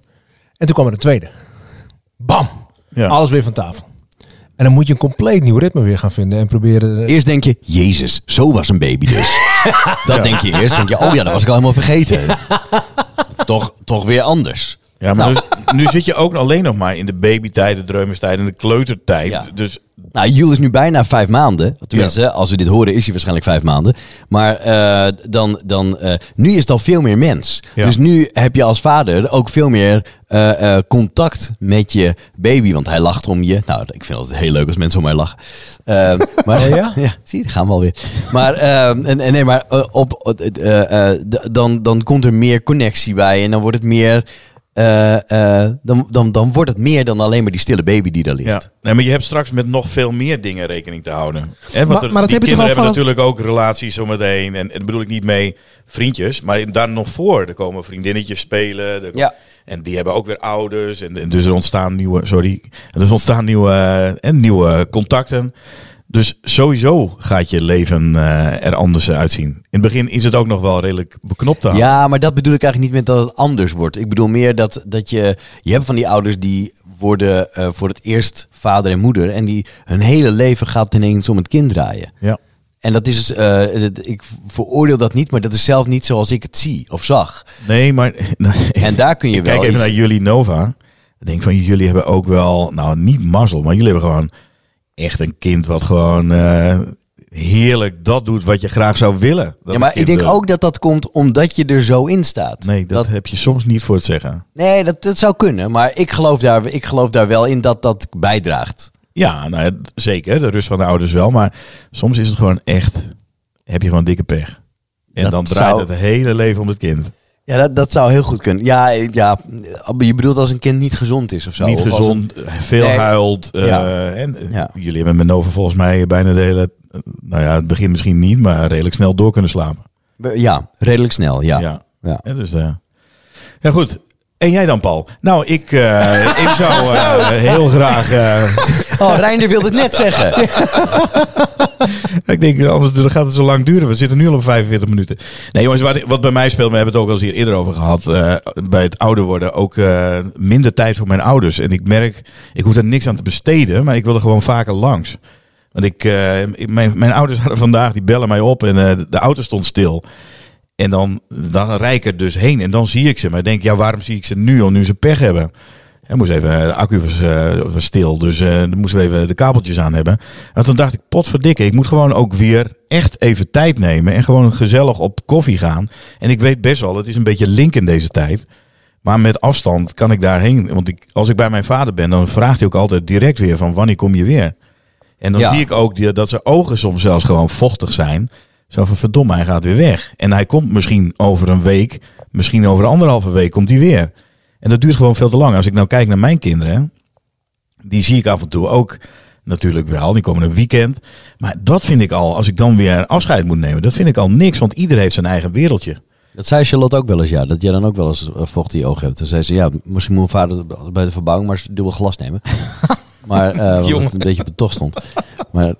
En toen kwam er een tweede. Bam! Ja. Alles weer van tafel. En dan moet je een compleet nieuw ritme weer gaan vinden en proberen. eh, Eerst denk je, Jezus, zo was een baby dus. dat denk je eerst. denk je, oh ja, dat was ik al helemaal vergeten. toch, toch weer anders. Ja, maar dus- nu zit je ook alleen nog maar in de babytijd, de dreumerstijd en de kleutertijd. Ja. Dus Nou, Jules is nu bijna vijf maanden. Tenminste, als we dit horen is hij waarschijnlijk vijf maanden. Maar eh, dan, dan, eh, nu is het al veel meer mens. Ja. Dus nu heb je als vader ook veel meer eh, eh, contact met je baby. Want hij lacht om je. Nou, ik vind het altijd heel leuk als mensen om mij lachen. Eh, maar, Oh ja? (laughs) ja, zie je, daar gaan we alweer. Maar, eh, en, en nee, maar eh, op, eh, eh, d- dan, dan komt er meer connectie bij en dan wordt het meer. eh, eh, dan, dan, dan wordt het meer dan alleen maar die stille baby die daar ligt. Ja, nee, maar je hebt straks met nog veel meer dingen rekening te houden. Hè, want Maar- er- maar dat die heb je toch kinderen al hebben vanaf- natuurlijk ook relaties zometeen. En, en dat bedoel ik niet mee vriendjes, maar daar nog voor. Er komen vriendinnetjes spelen. er kom- Ja. En die hebben ook weer ouders. En, en dus er ontstaan nieuwe, sorry, en dus ontstaan nieuwe, eh, en nieuwe contacten. Dus sowieso gaat je leven eh, er anders uitzien. In het begin is het ook nog wel redelijk beknopt te houden. Ja, maar dat bedoel ik eigenlijk niet met dat het anders wordt. Ik bedoel meer dat, dat je... Je hebt van die ouders die worden eh, voor het eerst vader en moeder. En die hun hele leven gaat ineens om het kind draaien. Ja. En dat is... eh, dat- ik veroordeel dat niet, maar dat is zelf niet zoals ik het zie of (laughs) zag. Nee, maar... En daar kun je wel Kijk even iets- naar jullie Nova. Ik denk van jullie hebben ook wel, nou niet mazzel, maar jullie hebben gewoon echt een kind wat gewoon eh, heerlijk dat doet wat je graag zou willen. Dat Ja, een maar ik kind denk wil. ook dat eh, dat komt omdat je er zo in staat. Nee, dat, heb je soms niet voor het zeggen. nee dat, dat zou kunnen. Maar ik geloof, daar, ik geloof daar wel in dat dat bijdraagt. Ja, nou, ja, d- zeker. De rust van de ouders wel. Maar soms is het gewoon echt, heb je gewoon dikke pech. En Dat dan draait zou- het hele leven om het kind. Ja, dat, dat zou heel goed kunnen. Ja, ja, je bedoelt als een kind niet gezond is of zo. niet of als een- gezond, eh, veel Nee. huilt. eh, Ja. En, eh, Ja. Jullie hebben met Nova volgens mij bijna de hele, eh, nou ja, het begin misschien niet, maar redelijk snel door kunnen slapen. Ja, redelijk snel, ja. ja. Ja. Ja, dus, eh, ja, goed. En jij dan, Paul? Nou, ik, eh, (laughs) ik zou eh, heel graag... eh, Oh, Reinder wilde het net zeggen. ik denk, eh, anders dan gaat het zo lang duren. We zitten nu al op 45 minuten. Nee, jongens, wat, wat bij mij speelt, we hebben het ook al eens hier eerder over gehad. eh, bij het ouder worden ook eh, minder tijd voor mijn ouders. En ik merk, ik hoef er niks aan te besteden, maar ik wil er gewoon vaker langs. Want ik, eh, ik- mijn, mijn ouders (laughs) hadden vandaag, die bellen mij op en eh, de auto stond stil. En dan, dan rijd ik er dus heen en dan zie ik ze. Maar ik denk, ja, waarom zie ik ze nu al, nu ze pech hebben? Hij moest even, de accu was, eh, was stil, dus eh, dan moesten we even de kabeltjes aan hebben. En toen dacht ik, potverdikke, ik moet gewoon ook weer echt even tijd nemen en gewoon gezellig op koffie gaan. En ik weet best wel, het is een beetje link in deze tijd. Maar met afstand kan ik daarheen. Want ik, als ik bij mijn vader ben, dan vraagt hij ook altijd direct weer van wanneer kom je weer? En dan Ja. zie ik ook die- dat zijn ogen soms zelfs gewoon vochtig zijn. Zo van verdomme, hij gaat weer weg. En hij komt misschien over een week, misschien over anderhalve week komt hij weer. En dat duurt gewoon veel te lang. Als ik nou kijk naar mijn kinderen, die zie ik af en toe ook natuurlijk wel. Die komen een weekend. Maar dat vind ik al, als ik dan weer afscheid moet nemen, dat vind ik al niks. Want ieder heeft zijn eigen wereldje. (laughs) Dat zei Charlotte ook wel eens, ja. Dat jij dan ook wel eens eh, vocht in je ogen hebt. Toen zei ze, ja, misschien moet mijn vader bij de verbouwing maar eens dubbel glas (laughs) nemen. Maar eh want Jongen. het een beetje op de tocht stond. (laughs) Maar,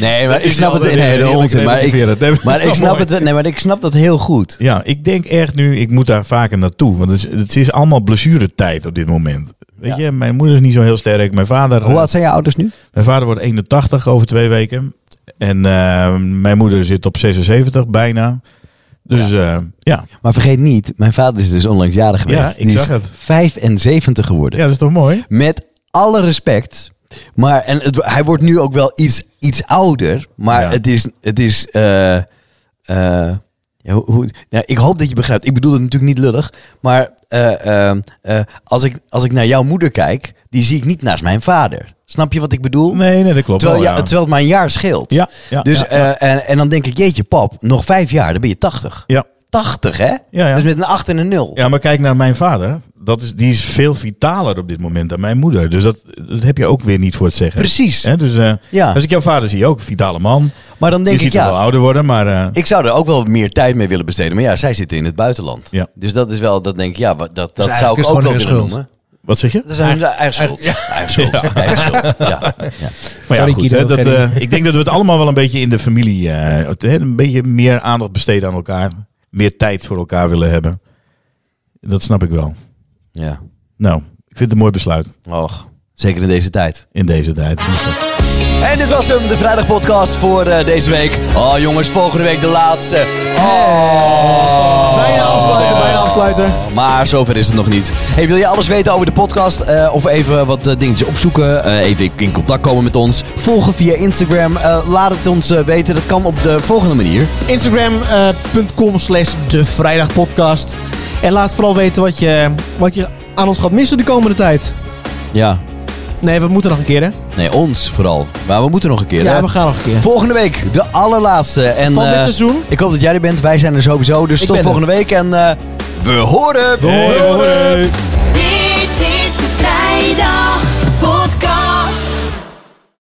nee, maar ik is snap wel het. weer Oh, Nee, een de onzin. heerlijk Maar ik, relativerend. Nee, maar (laughs) maar dat is ik wel snap het. Nee, maar ik snap dat heel goed. Ja, ik denk echt nu, ik moet daar vaker naartoe. Want het is, het is allemaal blessuretijd op dit moment. Weet je, mijn moeder is niet zo heel sterk. Mijn vader, eh, Hoe oud zijn je ouders nu? mijn vader wordt 81 over twee weken. En eh, mijn moeder zit op 76 bijna. Dus ja, ja. Maar vergeet niet, mijn vader is dus onlangs jarig geweest. Ja, ik Die is zag het. 75 geworden. ja, dat is toch mooi? Met alle respect. Maar en het- hij wordt nu ook wel iets, iets ouder. Maar Ja. het is. Het is eh, eh, ja, hoe, hoe- ja, ik hoop dat je begrijpt. Ik bedoel het natuurlijk niet lullig. Maar eh, eh, eh, als, ik, als ik naar jouw moeder kijk, die zie ik niet naast mijn vader. Snap je wat ik bedoel? Nee, nee, dat klopt Terwijl, wel, ja, terwijl het maar een jaar scheelt. Ja, ja, dus, ja, ja. eh, en, en dan denk ik, jeetje pap, nog vijf jaar, dan ben je 80. Ja. 80 hè? ja. Dus met een 8 en een 0. Ja, maar kijk naar mijn vader. Dat is, die is veel vitaler op dit moment dan mijn moeder. Dus dat, dat heb je ook weer niet voor het zeggen. Precies. Hè, dus eh, Ja. als ik jouw vader zie, ook een vitale man. Maar dan denk je ik, ziet hem wel ja, ouder worden, maar... eh, ik zou er ook wel meer tijd mee willen besteden. Maar ja, zij zitten in het buitenland. Ja. Dus dat is wel, dat denk ik, ja, wat- dat, dat Dus eigenlijk zou is ik het ook wel gewoon willen hun schuld. noemen. wat zeg je? Dat is hun eigen schuld. Eigen schuld. Eigen schuld. Ja. Ja. Maar ja, Sorry, goed, Guido, hè, dat, Gerry. eh, ik denk dat we het allemaal wel een beetje in de familie... eh, het, hè, een beetje meer aandacht besteden aan elkaar. Meer tijd voor elkaar willen hebben. Dat snap ik wel. ja. Nou, ik vind het een mooi besluit Och, zeker in deze tijd. in deze tijd. En dit was hem, de vrijdagpodcast voor eh, deze week. Oh jongens, volgende week de laatste. Oh. Bijna afsluiten, bijna afsluiten. Maar zover is het nog niet. Hey, wil je alles weten over de podcast? eh, of even wat eh, dingetjes opzoeken? eh, even in contact komen met ons? Volgen via Instagram. eh, laat het ons eh, weten. Dat kan op de volgende manier. Instagram.com eh, slash de vrijdagpodcast. En laat vooral weten wat je, wat je aan ons gaat missen de komende tijd. Ja. Nee, we moeten nog een keer, hè? Nee, ons vooral. Maar we moeten nog een keer. Ja, hè? we gaan nog een keer. Volgende week, de allerlaatste. En, Van dit eh, seizoen. Ik hoop dat jij er bent. Wij zijn er sowieso. Dus Ik tot ben er. volgende week. En eh, we horen. Hey, hoi. Dit is de vrijdag.